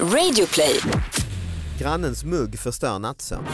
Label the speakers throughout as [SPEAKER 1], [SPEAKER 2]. [SPEAKER 1] Radioplay.
[SPEAKER 2] Grannens mugg förstör nattsömn.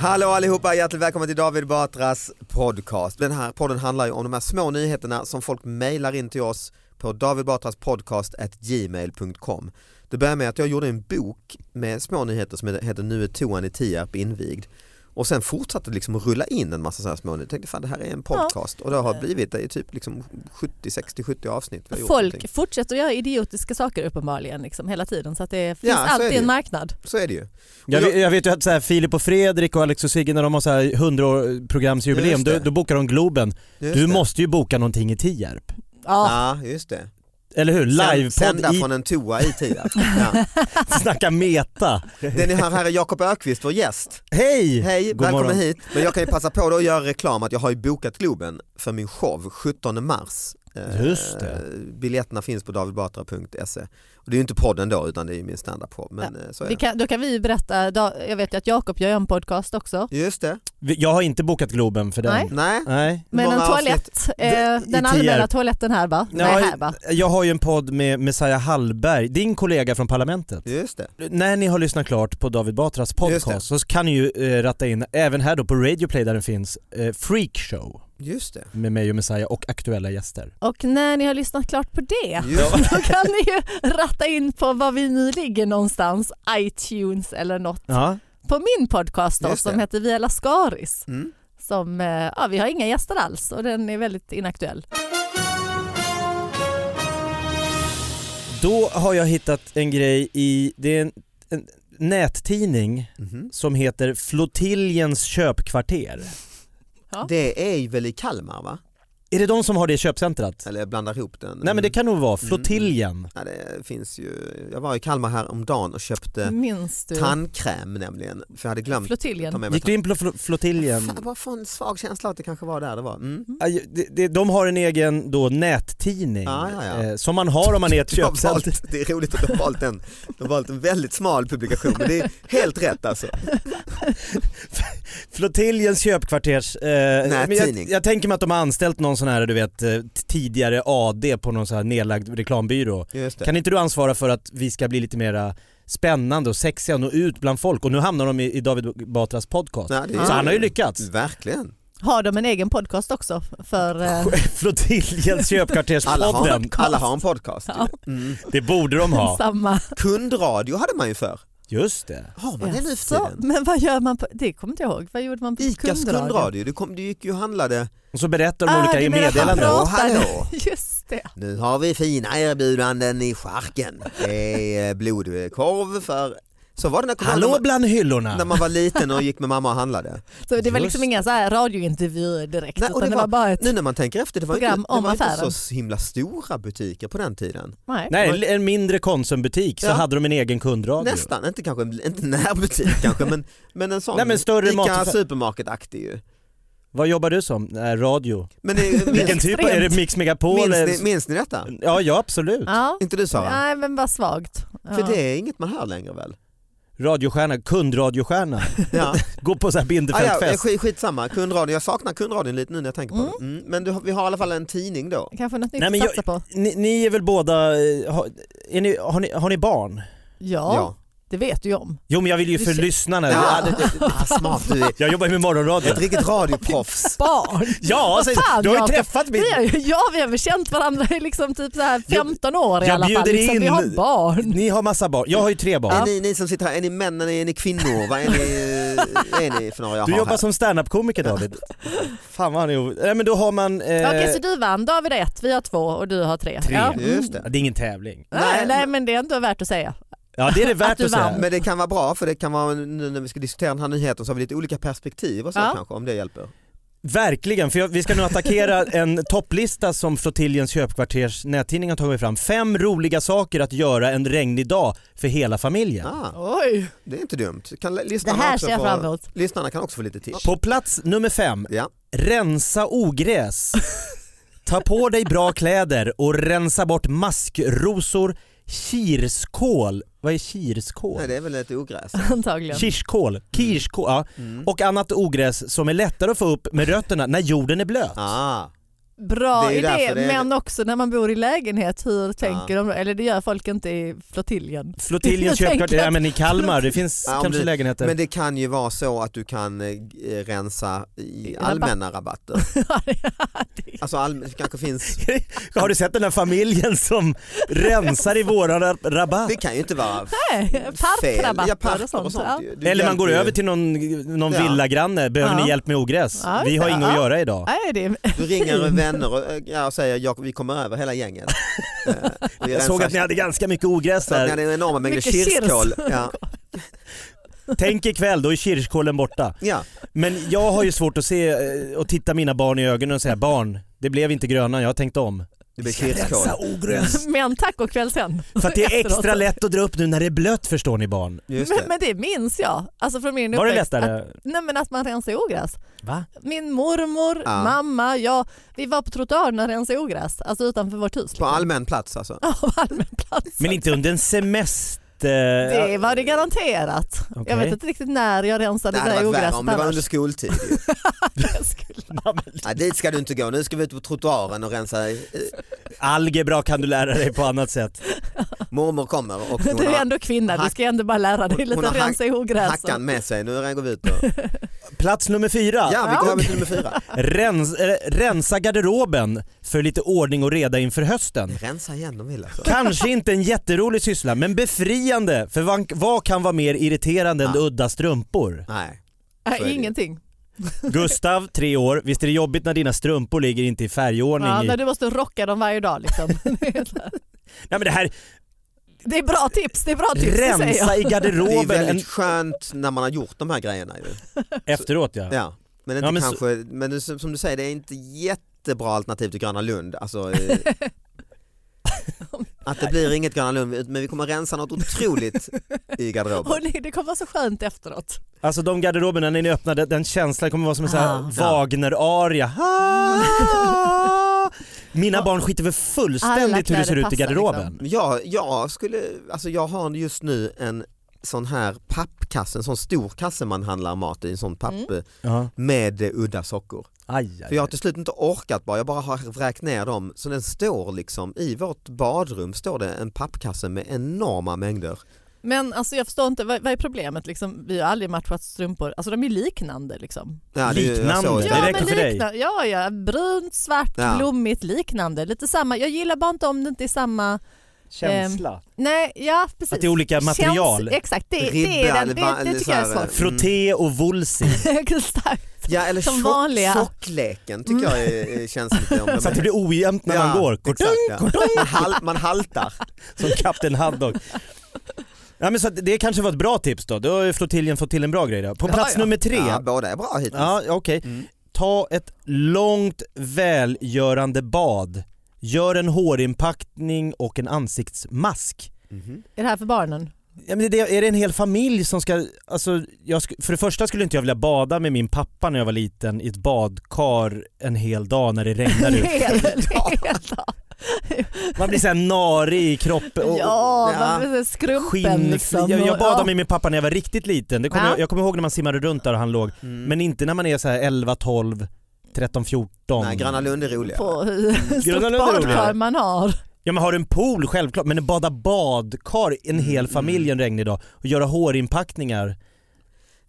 [SPEAKER 2] Hallå allihopa, hjärtligt välkomna till David Batras podcast. Den här podden handlar ju om de här små nyheterna som folk mejlar in till oss på davidbatraspodcast.gmail.com. Det börjar med att jag gjorde en bok med små nyheter som heter Nu är toan i Tierp invigd. Och sen fortsatte det liksom att rulla in en massa sådana här små nyheter. Jag tänkte fan det här är en podcast och det har blivit det är typ liksom 70, 60, 70 avsnitt. vi har gjort någonting.
[SPEAKER 3] Folk fortsätter att göra idiotiska saker uppenbarligen liksom, hela tiden så att det finns
[SPEAKER 2] så är
[SPEAKER 3] alltid
[SPEAKER 2] det ju.
[SPEAKER 3] en marknad.
[SPEAKER 2] Så är det ju.
[SPEAKER 4] Jag,
[SPEAKER 2] Och
[SPEAKER 4] vet- jag vet ju att så här, Filip och Fredrik och Alex och Sigge när de har så här 100-programsjubileum,
[SPEAKER 2] Just det.
[SPEAKER 4] då, då bokar de Globen.
[SPEAKER 2] Just
[SPEAKER 4] du
[SPEAKER 2] det.
[SPEAKER 4] måste ju boka någonting i Tierp.
[SPEAKER 3] Ja,
[SPEAKER 2] Ja, just det.
[SPEAKER 4] Eller hur? Livepodd
[SPEAKER 2] Sända
[SPEAKER 4] i,
[SPEAKER 2] från en toa i Tierp. Ja.
[SPEAKER 4] snacka meta.
[SPEAKER 2] Det ni hör här är Jakob Ökvist, vår gäst.
[SPEAKER 4] Hej!
[SPEAKER 2] Hej,
[SPEAKER 4] God
[SPEAKER 2] välkommen
[SPEAKER 4] morgon.
[SPEAKER 2] hit. Men jag kan ju passa på då att göra reklam att jag har ju bokat Globen för min show 17 mars. Eh,
[SPEAKER 4] Just det.
[SPEAKER 2] Biljetterna finns på davidbatra.se. Och det är ju inte podden då utan det är ju min standup-show. Men eh, så är
[SPEAKER 3] vi
[SPEAKER 2] det.
[SPEAKER 3] kan, då kan vi berätta, da- jag vet ju att Jakob gör en podcast också.
[SPEAKER 2] Just det.
[SPEAKER 4] Vi- Jag har inte bokat Globen för den.
[SPEAKER 3] Nej.
[SPEAKER 2] Nej,
[SPEAKER 4] Nej.
[SPEAKER 3] Men
[SPEAKER 2] Många
[SPEAKER 3] en toalett, eh,
[SPEAKER 4] I
[SPEAKER 3] den
[SPEAKER 4] Tierp.
[SPEAKER 3] allmänna toaletten här va? Nej, här va?
[SPEAKER 4] jag har ju en podd med Messiah Hallberg, din kollega från Parlamentet.
[SPEAKER 2] just det.
[SPEAKER 4] När ni har lyssnat klart på David Batras
[SPEAKER 2] Just det.
[SPEAKER 4] podcast så kan ni ju eh, ratta in, även här då på Radioplay där den finns, eh, Freakshow
[SPEAKER 2] Just det.
[SPEAKER 4] med mig och Messiah och aktuella gäster.
[SPEAKER 3] Och när ni har lyssnat klart på det
[SPEAKER 2] Just det.
[SPEAKER 3] då kan ni ju ratta in på var vi nu ligger någonstans, iTunes eller något.
[SPEAKER 4] Ja.
[SPEAKER 3] På min podcast då,
[SPEAKER 2] Just det.
[SPEAKER 3] som heter Via Lascaris.
[SPEAKER 2] Mm.
[SPEAKER 3] Som, eh, ja, vi har inga gäster alls och den är väldigt inaktuell.
[SPEAKER 4] Då har jag hittat en grej i, det är en, en nättidning
[SPEAKER 2] Mhm.
[SPEAKER 4] som heter Flottiljens köpkvarter.
[SPEAKER 3] Ja.
[SPEAKER 2] Det är ju väl i Kalmar va?
[SPEAKER 4] Är det de som har det köpcentrat?
[SPEAKER 2] Eller jag blandar ihop den.
[SPEAKER 4] Nej men det kan nog vara
[SPEAKER 2] Mm.
[SPEAKER 4] Flottiljen.
[SPEAKER 2] Ja, det finns ju, jag var i Kalmar här om dagen och köpte
[SPEAKER 3] Minns Mm, du?
[SPEAKER 2] tandkräm nämligen. För jag hade glömt
[SPEAKER 3] Flottiljen.
[SPEAKER 2] ta med mig
[SPEAKER 4] Gick du in på fl- Flottiljen?
[SPEAKER 2] Fan, jag bara får en svag känsla att det kanske var där det var. Mm.
[SPEAKER 4] Aj, det- det- De har en egen då nättidning
[SPEAKER 2] Ah, Ja, ja, ja.
[SPEAKER 4] eh, som man har om man är ett
[SPEAKER 2] De har
[SPEAKER 4] köpcenter.
[SPEAKER 2] valt, det är roligt att de har valt en, de har valt en väldigt smal publikation men det är helt rätt alltså.
[SPEAKER 4] Flottiljens köpkvarters... Eh, men
[SPEAKER 2] Nättidning.
[SPEAKER 4] jag, jag tänker mig att de har anställt någon sån här du vet eh, t- tidigare AD på någon sån här nedlagd reklambyrå.
[SPEAKER 2] Just det.
[SPEAKER 4] Kan inte du ansvara för att vi ska bli lite mera spännande och sexiga och nå ut bland folk? Och nu hamnar de i, i David Batras podcast.
[SPEAKER 2] Nej, det är-
[SPEAKER 4] Så han har ju lyckats.
[SPEAKER 2] Verkligen.
[SPEAKER 3] Har de en egen podcast också? För, eh,
[SPEAKER 4] Flottiljens
[SPEAKER 2] Mm. Alla har,
[SPEAKER 4] köpkvarterspodden.
[SPEAKER 2] en, alla har en podcast. ju.
[SPEAKER 3] Ja.
[SPEAKER 2] Mm.
[SPEAKER 4] Det borde de ha.
[SPEAKER 3] samma.
[SPEAKER 2] Kundradio hade man ju för.
[SPEAKER 4] Just det.
[SPEAKER 2] Har man det nu för
[SPEAKER 3] Så,
[SPEAKER 2] tiden?
[SPEAKER 3] men vad gör man på, det kommer inte jag ihåg, vad gjorde man på
[SPEAKER 2] Icas kundradio, du, kom, du gick ju och handlade.
[SPEAKER 4] Och så berättar de olika
[SPEAKER 3] du menar
[SPEAKER 4] meddelanden.
[SPEAKER 3] att
[SPEAKER 2] Hallå,
[SPEAKER 3] man
[SPEAKER 2] hallå.
[SPEAKER 3] pratar. Just det.
[SPEAKER 2] Nu har vi fina erbjudanden i charken. Det är eh, blodkorv för... Så var det när,
[SPEAKER 4] Hallå
[SPEAKER 2] när, man,
[SPEAKER 4] bland
[SPEAKER 2] när
[SPEAKER 4] hyllorna.
[SPEAKER 2] man var liten och gick med mamma och handlade.
[SPEAKER 3] Så det var liksom
[SPEAKER 4] Just
[SPEAKER 3] inga så här radiointervjuer direkt
[SPEAKER 2] Nej, och
[SPEAKER 3] utan
[SPEAKER 2] det
[SPEAKER 3] det var,
[SPEAKER 2] var-
[SPEAKER 3] bara ett...
[SPEAKER 2] Nu när man tänker efter, det var, inte,
[SPEAKER 3] Program
[SPEAKER 2] det
[SPEAKER 3] om
[SPEAKER 2] var inte
[SPEAKER 3] affären.
[SPEAKER 2] så himla stora butiker på den tiden.
[SPEAKER 3] Nej.
[SPEAKER 4] Nej, en mindre Konsumbutik så
[SPEAKER 2] Ja.
[SPEAKER 4] hade de en egen kundradio.
[SPEAKER 2] Nästan, inte kanske en, inte närbutik kanske men, men en sån.
[SPEAKER 4] Nej, men större
[SPEAKER 2] Ica
[SPEAKER 4] mataffär.
[SPEAKER 2] supermarket-aktig ju.
[SPEAKER 4] Vad jobbar du som? Nej, radio.
[SPEAKER 2] Men det, minns,
[SPEAKER 4] Vilken
[SPEAKER 2] minns,
[SPEAKER 4] typ? Är det Mix Megapol?
[SPEAKER 2] ni,
[SPEAKER 4] eller-
[SPEAKER 2] minns ni detta?
[SPEAKER 4] Ja, ja absolut.
[SPEAKER 3] Ja.
[SPEAKER 2] Inte du Sara?
[SPEAKER 3] Nej men bara svagt. Ja.
[SPEAKER 2] För det är inget man hör längre väl?
[SPEAKER 4] Radiostjärna, kundradiostjärna.
[SPEAKER 2] Ja.
[SPEAKER 4] Gå på så
[SPEAKER 2] Ah,
[SPEAKER 4] här
[SPEAKER 2] ja,
[SPEAKER 4] Bindefeldfest.
[SPEAKER 2] skit, skitsamma, kundradion. Jag saknar kundradion lite nu när jag tänker på det. Mm, men du, har- vi har i alla fall en tidning då.
[SPEAKER 3] Kanske något nytt
[SPEAKER 4] Nej, men
[SPEAKER 3] att satsa på.
[SPEAKER 4] Ni, ni är väl båda, eh, har, är ni, har, ni, har ni barn?
[SPEAKER 3] Ja, det vet du ju om.
[SPEAKER 4] Jo men jag vill ju
[SPEAKER 3] Du
[SPEAKER 4] för
[SPEAKER 3] ser-
[SPEAKER 4] lyssnarna.
[SPEAKER 2] Ja, det, det, ah, smart du är.
[SPEAKER 4] Jag jobbar ju med morgonradio.
[SPEAKER 2] Ett riktigt radioproffs.
[SPEAKER 3] Barn!
[SPEAKER 4] Ja,
[SPEAKER 3] Vad
[SPEAKER 4] säg-
[SPEAKER 3] fan,
[SPEAKER 4] du har ju
[SPEAKER 3] Jakob.
[SPEAKER 4] träffat mitt...
[SPEAKER 3] Vi har, ju- ja vi har väl känt varandra i liksom typ så här 15 år i
[SPEAKER 4] jag
[SPEAKER 3] alla fall.
[SPEAKER 4] bjuder
[SPEAKER 3] Liksom, vi
[SPEAKER 4] in-
[SPEAKER 3] har barn.
[SPEAKER 4] Ni har massa barn. Jag har ju tre
[SPEAKER 2] Är
[SPEAKER 4] barn.
[SPEAKER 2] ni, ni som sitter här, är ni män eller är ni kvinnor? Vad är ni, är ni för några jag
[SPEAKER 4] Du
[SPEAKER 2] har
[SPEAKER 4] jobbar
[SPEAKER 2] här?
[SPEAKER 4] som standup-komiker David. Fan vad han är o- Nej men då har man... Eh...
[SPEAKER 3] Okej så du vann, David har ett, vi har två och du har tre.
[SPEAKER 4] Tre.
[SPEAKER 3] Ja.
[SPEAKER 2] Just
[SPEAKER 4] Ja,
[SPEAKER 2] det.
[SPEAKER 4] Det är ingen tävling.
[SPEAKER 3] Nej,
[SPEAKER 2] Nej,
[SPEAKER 3] nej men det är ändå värt att säga.
[SPEAKER 4] Ja det är det värt att,
[SPEAKER 3] du vann.
[SPEAKER 4] säga.
[SPEAKER 2] Men det kan vara bra för det kan vara nu när vi ska diskutera den här nyheten så har vi lite olika perspektiv och så
[SPEAKER 3] Ja.
[SPEAKER 2] kanske om det hjälper.
[SPEAKER 4] Verkligen, för jag, vi ska nu attackera en topplista som Flottiljens köpkvarters nättidning har tagit fram. Fem roliga saker att göra en regnig dag för hela familjen.
[SPEAKER 2] Ah,
[SPEAKER 3] Oj.
[SPEAKER 2] det är inte dumt. Kan l-
[SPEAKER 3] Det
[SPEAKER 2] lyssnarna,
[SPEAKER 3] här
[SPEAKER 2] också
[SPEAKER 3] ser jag
[SPEAKER 2] få,
[SPEAKER 3] fram emot.
[SPEAKER 2] lyssnarna kan också få lite tips.
[SPEAKER 4] På plats nummer fem,
[SPEAKER 2] Ja.
[SPEAKER 4] rensa ogräs. Ta på dig bra kläder och rensa bort maskrosor, Kirskål, vad är kirskål?
[SPEAKER 2] Nej, det är väl ett ogräs.
[SPEAKER 3] antagligen.
[SPEAKER 4] Kirskål, kirskål, ja.
[SPEAKER 2] Mm.
[SPEAKER 4] Och annat ogräs som är lättare att få upp med rötterna när jorden är blöt.
[SPEAKER 2] Ah,
[SPEAKER 3] Bra
[SPEAKER 2] Det är ju
[SPEAKER 3] idé,
[SPEAKER 2] därför det är-
[SPEAKER 3] men också när man bor i lägenhet, hur tänker de? Eller det gör folk inte i flottiljen.
[SPEAKER 4] Flottiljens
[SPEAKER 3] Jag tänker
[SPEAKER 4] köpkvarter, ja
[SPEAKER 3] att-
[SPEAKER 4] men i Kalmar, det finns
[SPEAKER 2] Ja, om
[SPEAKER 4] kanske
[SPEAKER 2] du-
[SPEAKER 4] lägenheter.
[SPEAKER 2] men det kan ju vara så att du kan eh, rensa i
[SPEAKER 3] Rabatt.
[SPEAKER 2] allmänna rabatter. Alltså allm- det kanske finns,
[SPEAKER 4] Har du sett den här familjen som rensar i våra ra- rabatt?
[SPEAKER 2] det kan ju inte vara
[SPEAKER 3] Nej,
[SPEAKER 2] fel.
[SPEAKER 3] Parkrabatter
[SPEAKER 2] Mm. Ja, parker
[SPEAKER 3] och sånt. ja.
[SPEAKER 2] ju. Du
[SPEAKER 4] Eller man
[SPEAKER 2] hjälper
[SPEAKER 4] går
[SPEAKER 2] ju-
[SPEAKER 4] över till någon, någon
[SPEAKER 2] Ja.
[SPEAKER 4] villagranne, behöver
[SPEAKER 3] Ja.
[SPEAKER 4] ni hjälp med ogräs?
[SPEAKER 3] Ja,
[SPEAKER 4] Vi har
[SPEAKER 3] ja.
[SPEAKER 4] inget att göra idag.
[SPEAKER 3] Nej, det är
[SPEAKER 2] Du ringer vänner och, eh, ja, och säger jag, vi kommer över hela gänget. Eh, vi
[SPEAKER 4] Jag såg
[SPEAKER 2] rensar-
[SPEAKER 4] att ni hade ganska mycket ogräs
[SPEAKER 2] Så att ni
[SPEAKER 4] där.
[SPEAKER 2] hade enorma mängder
[SPEAKER 3] Mycket kirs.
[SPEAKER 2] kirskål. Ja,
[SPEAKER 4] Tänk ikväll, då är kirskålen borta.
[SPEAKER 2] ja.
[SPEAKER 4] Men jag har ju svårt att se eh, och titta mina barn i ögonen och säga barn, det blev inte gröna, jag har tänkt om.
[SPEAKER 2] Det blir
[SPEAKER 4] Vi ska
[SPEAKER 2] kirskål.
[SPEAKER 4] rensa ogräs.
[SPEAKER 3] Men tack och kväll sen.
[SPEAKER 4] För att det är
[SPEAKER 3] Efteråt.
[SPEAKER 4] extra lätt att dra upp nu när det är blött förstår ni barn.
[SPEAKER 2] Just
[SPEAKER 3] Men,
[SPEAKER 2] det.
[SPEAKER 3] men det minns jag. Alltså från min
[SPEAKER 4] Var det
[SPEAKER 3] uppväxt Att,
[SPEAKER 4] lättare?
[SPEAKER 3] nej men att man rensar ogräs.
[SPEAKER 4] Va?
[SPEAKER 3] Min mormor,
[SPEAKER 2] Ja.
[SPEAKER 3] mamma, jag. Vi var på trottoaren och rensade ogräs. Alltså utanför vårt hus.
[SPEAKER 2] På allmän plats alltså.
[SPEAKER 3] Ja, på allmän plats.
[SPEAKER 4] Men inte under en semester?
[SPEAKER 3] Det var det garanterat.
[SPEAKER 4] Okej.
[SPEAKER 3] Jag vet inte riktigt när jag rensade
[SPEAKER 2] Det
[SPEAKER 3] det,
[SPEAKER 2] hade
[SPEAKER 3] där
[SPEAKER 2] varit värre
[SPEAKER 3] ogräset
[SPEAKER 2] om det var
[SPEAKER 3] annars.
[SPEAKER 2] under skoltid.
[SPEAKER 3] Jag skulle-
[SPEAKER 2] Nej, dit ska du inte gå, nu ska vi ut på trottoaren och rensa. eh,
[SPEAKER 4] Algebra kan du lära dig på annat sätt.
[SPEAKER 2] Mormor kommer och hon
[SPEAKER 3] Du är
[SPEAKER 2] har
[SPEAKER 3] ändå kvinna, du
[SPEAKER 2] hack-
[SPEAKER 3] ska ändå bara lära dig
[SPEAKER 2] hon-
[SPEAKER 3] lite
[SPEAKER 2] hon har
[SPEAKER 3] att rensa i ogräs.
[SPEAKER 2] hackan med sig. Nu går vi ut och...
[SPEAKER 4] Plats nummer fyra.
[SPEAKER 2] Ja, vi går över till nummer fyra.
[SPEAKER 4] Rens, eh, rensa garderoben för lite ordning och reda inför hösten.
[SPEAKER 2] Rensa igen de vill alltså.
[SPEAKER 4] Kanske inte en jätterolig syssla men befriande för vad, vad kan vara mer irriterande än
[SPEAKER 2] Ja.
[SPEAKER 4] udda strumpor?
[SPEAKER 2] Nej.
[SPEAKER 3] Nej,
[SPEAKER 2] Så är det.
[SPEAKER 3] Ingenting.
[SPEAKER 4] Gustav, tre år, visst är det jobbigt när dina strumpor ligger inte i färgordning?
[SPEAKER 3] Ja,
[SPEAKER 4] i...
[SPEAKER 3] när du måste rocka dem varje dag liksom.
[SPEAKER 4] Nej, men det här,
[SPEAKER 3] Det är bra tips, det är bra tips. det säger jag.
[SPEAKER 4] rensa i
[SPEAKER 2] Det är
[SPEAKER 4] garderoben en,
[SPEAKER 2] väldigt skönt när man har gjort de här grejerna. Ju.
[SPEAKER 4] efteråt ja.
[SPEAKER 2] Ja. Men, inte
[SPEAKER 4] Ja, men så-
[SPEAKER 2] kanske, men det- som du säger, det är inte jättebra alternativ till Gröna Lund. Alltså, eh, att det blir inget Gröna Lund, men vi kommer rensa något otroligt i garderoben.
[SPEAKER 3] Och det- det kommer vara så skönt efteråt.
[SPEAKER 4] Alltså de garderoberna när ni öppnar den- den känslan kommer vara som en sån här
[SPEAKER 3] Ah.
[SPEAKER 4] Wagner-aria. Ah. Mina barn skiter väl
[SPEAKER 3] Alla
[SPEAKER 4] fullständigt hur
[SPEAKER 3] kläder
[SPEAKER 4] det ser ut i
[SPEAKER 3] passar, liksom.
[SPEAKER 4] garderoben.
[SPEAKER 2] Men Jag, jag, skulle, alltså jag har just nu en sån här pappkasse, en sån stor kasse man handlar mat i, en sån papp
[SPEAKER 4] Mm. Ja.
[SPEAKER 2] med eh, udda sockor.
[SPEAKER 4] Aj,
[SPEAKER 2] För jag har till slut inte orkat bara, jag bara har vräkt ner dem. Så den står liksom, i vårt badrum står det en pappkasse med enorma mängder.
[SPEAKER 3] Men alltså jag förstår inte, vad, vad är problemet liksom? Vi har aldrig matchat strumpor, alltså de är liknande liksom.
[SPEAKER 2] Ja, det är ju- jag
[SPEAKER 4] Liknande.
[SPEAKER 2] såg det.
[SPEAKER 4] Ja, det räcker för dig.
[SPEAKER 3] likna- Ja, ja, brunt, svart,
[SPEAKER 2] Ja.
[SPEAKER 3] blommigt, liknande. Lite samma, jag gillar bara inte om det inte är samma,
[SPEAKER 4] Känsla.
[SPEAKER 3] nej, ja precis.
[SPEAKER 4] Att det är olika material.
[SPEAKER 3] Ehm, Känns, exakt, det, det,
[SPEAKER 2] Ribba,
[SPEAKER 3] är den,
[SPEAKER 2] va-
[SPEAKER 3] det, det tycker jag
[SPEAKER 2] så
[SPEAKER 3] är
[SPEAKER 2] här,
[SPEAKER 3] svårt.
[SPEAKER 4] Frotté och vulsi.
[SPEAKER 3] Exakt.
[SPEAKER 2] Ja eller
[SPEAKER 3] Som
[SPEAKER 2] tjock-
[SPEAKER 3] vanliga. Mm.
[SPEAKER 2] tjockleken tycker jag är, är- känns lite om de
[SPEAKER 4] Så att det blir ojämnt när man
[SPEAKER 2] Ja,
[SPEAKER 4] går. Kortung,
[SPEAKER 2] exakt, ja. man, hal, man haltar.
[SPEAKER 4] Som Kapten Haddock. Ja, men så att det kanske var ett bra tips då. Då har flottiljen fått till en bra grej. Då. På
[SPEAKER 3] Ja,
[SPEAKER 4] plats
[SPEAKER 3] ja.
[SPEAKER 4] nummer tre.
[SPEAKER 2] Ja,
[SPEAKER 4] Ja,
[SPEAKER 2] båda är bra hittills.
[SPEAKER 4] okej.
[SPEAKER 2] Mm.
[SPEAKER 4] Ta ett långt välgörande bad. Gör en hårinpackning och en ansiktsmask.
[SPEAKER 2] Mhm.
[SPEAKER 3] Är det här för barnen?
[SPEAKER 4] Ja, men det, är det en hel familj som ska... Alltså, jag, sk- för det första skulle inte jag vilja bada med min pappa när jag var liten i ett badkar en hel dag när det regnar ut. Man blir såhär narig i kroppen. och-
[SPEAKER 3] Ja,
[SPEAKER 2] ja.
[SPEAKER 3] man blir så skrumpen
[SPEAKER 4] Skinnfri.
[SPEAKER 3] liksom.
[SPEAKER 4] Jag, jag
[SPEAKER 3] och-
[SPEAKER 4] badade
[SPEAKER 3] ja.
[SPEAKER 4] med min pappa när jag var riktigt liten. Det kommer
[SPEAKER 3] Ja.
[SPEAKER 4] jag, jag kommer ihåg när man simmade runt där och han låg.
[SPEAKER 2] Mm.
[SPEAKER 4] Men inte när man är så här 11, 12, 13, 14.
[SPEAKER 2] Nej, Gröna Lund är roligare.
[SPEAKER 3] på hur stort
[SPEAKER 4] Gröna Lund är roligare.
[SPEAKER 3] badkar man har.
[SPEAKER 4] Ja men har du en pool självklart, men bada badkar en hel
[SPEAKER 3] Mm.
[SPEAKER 4] familj en regnig dag och göra hårinpackningar.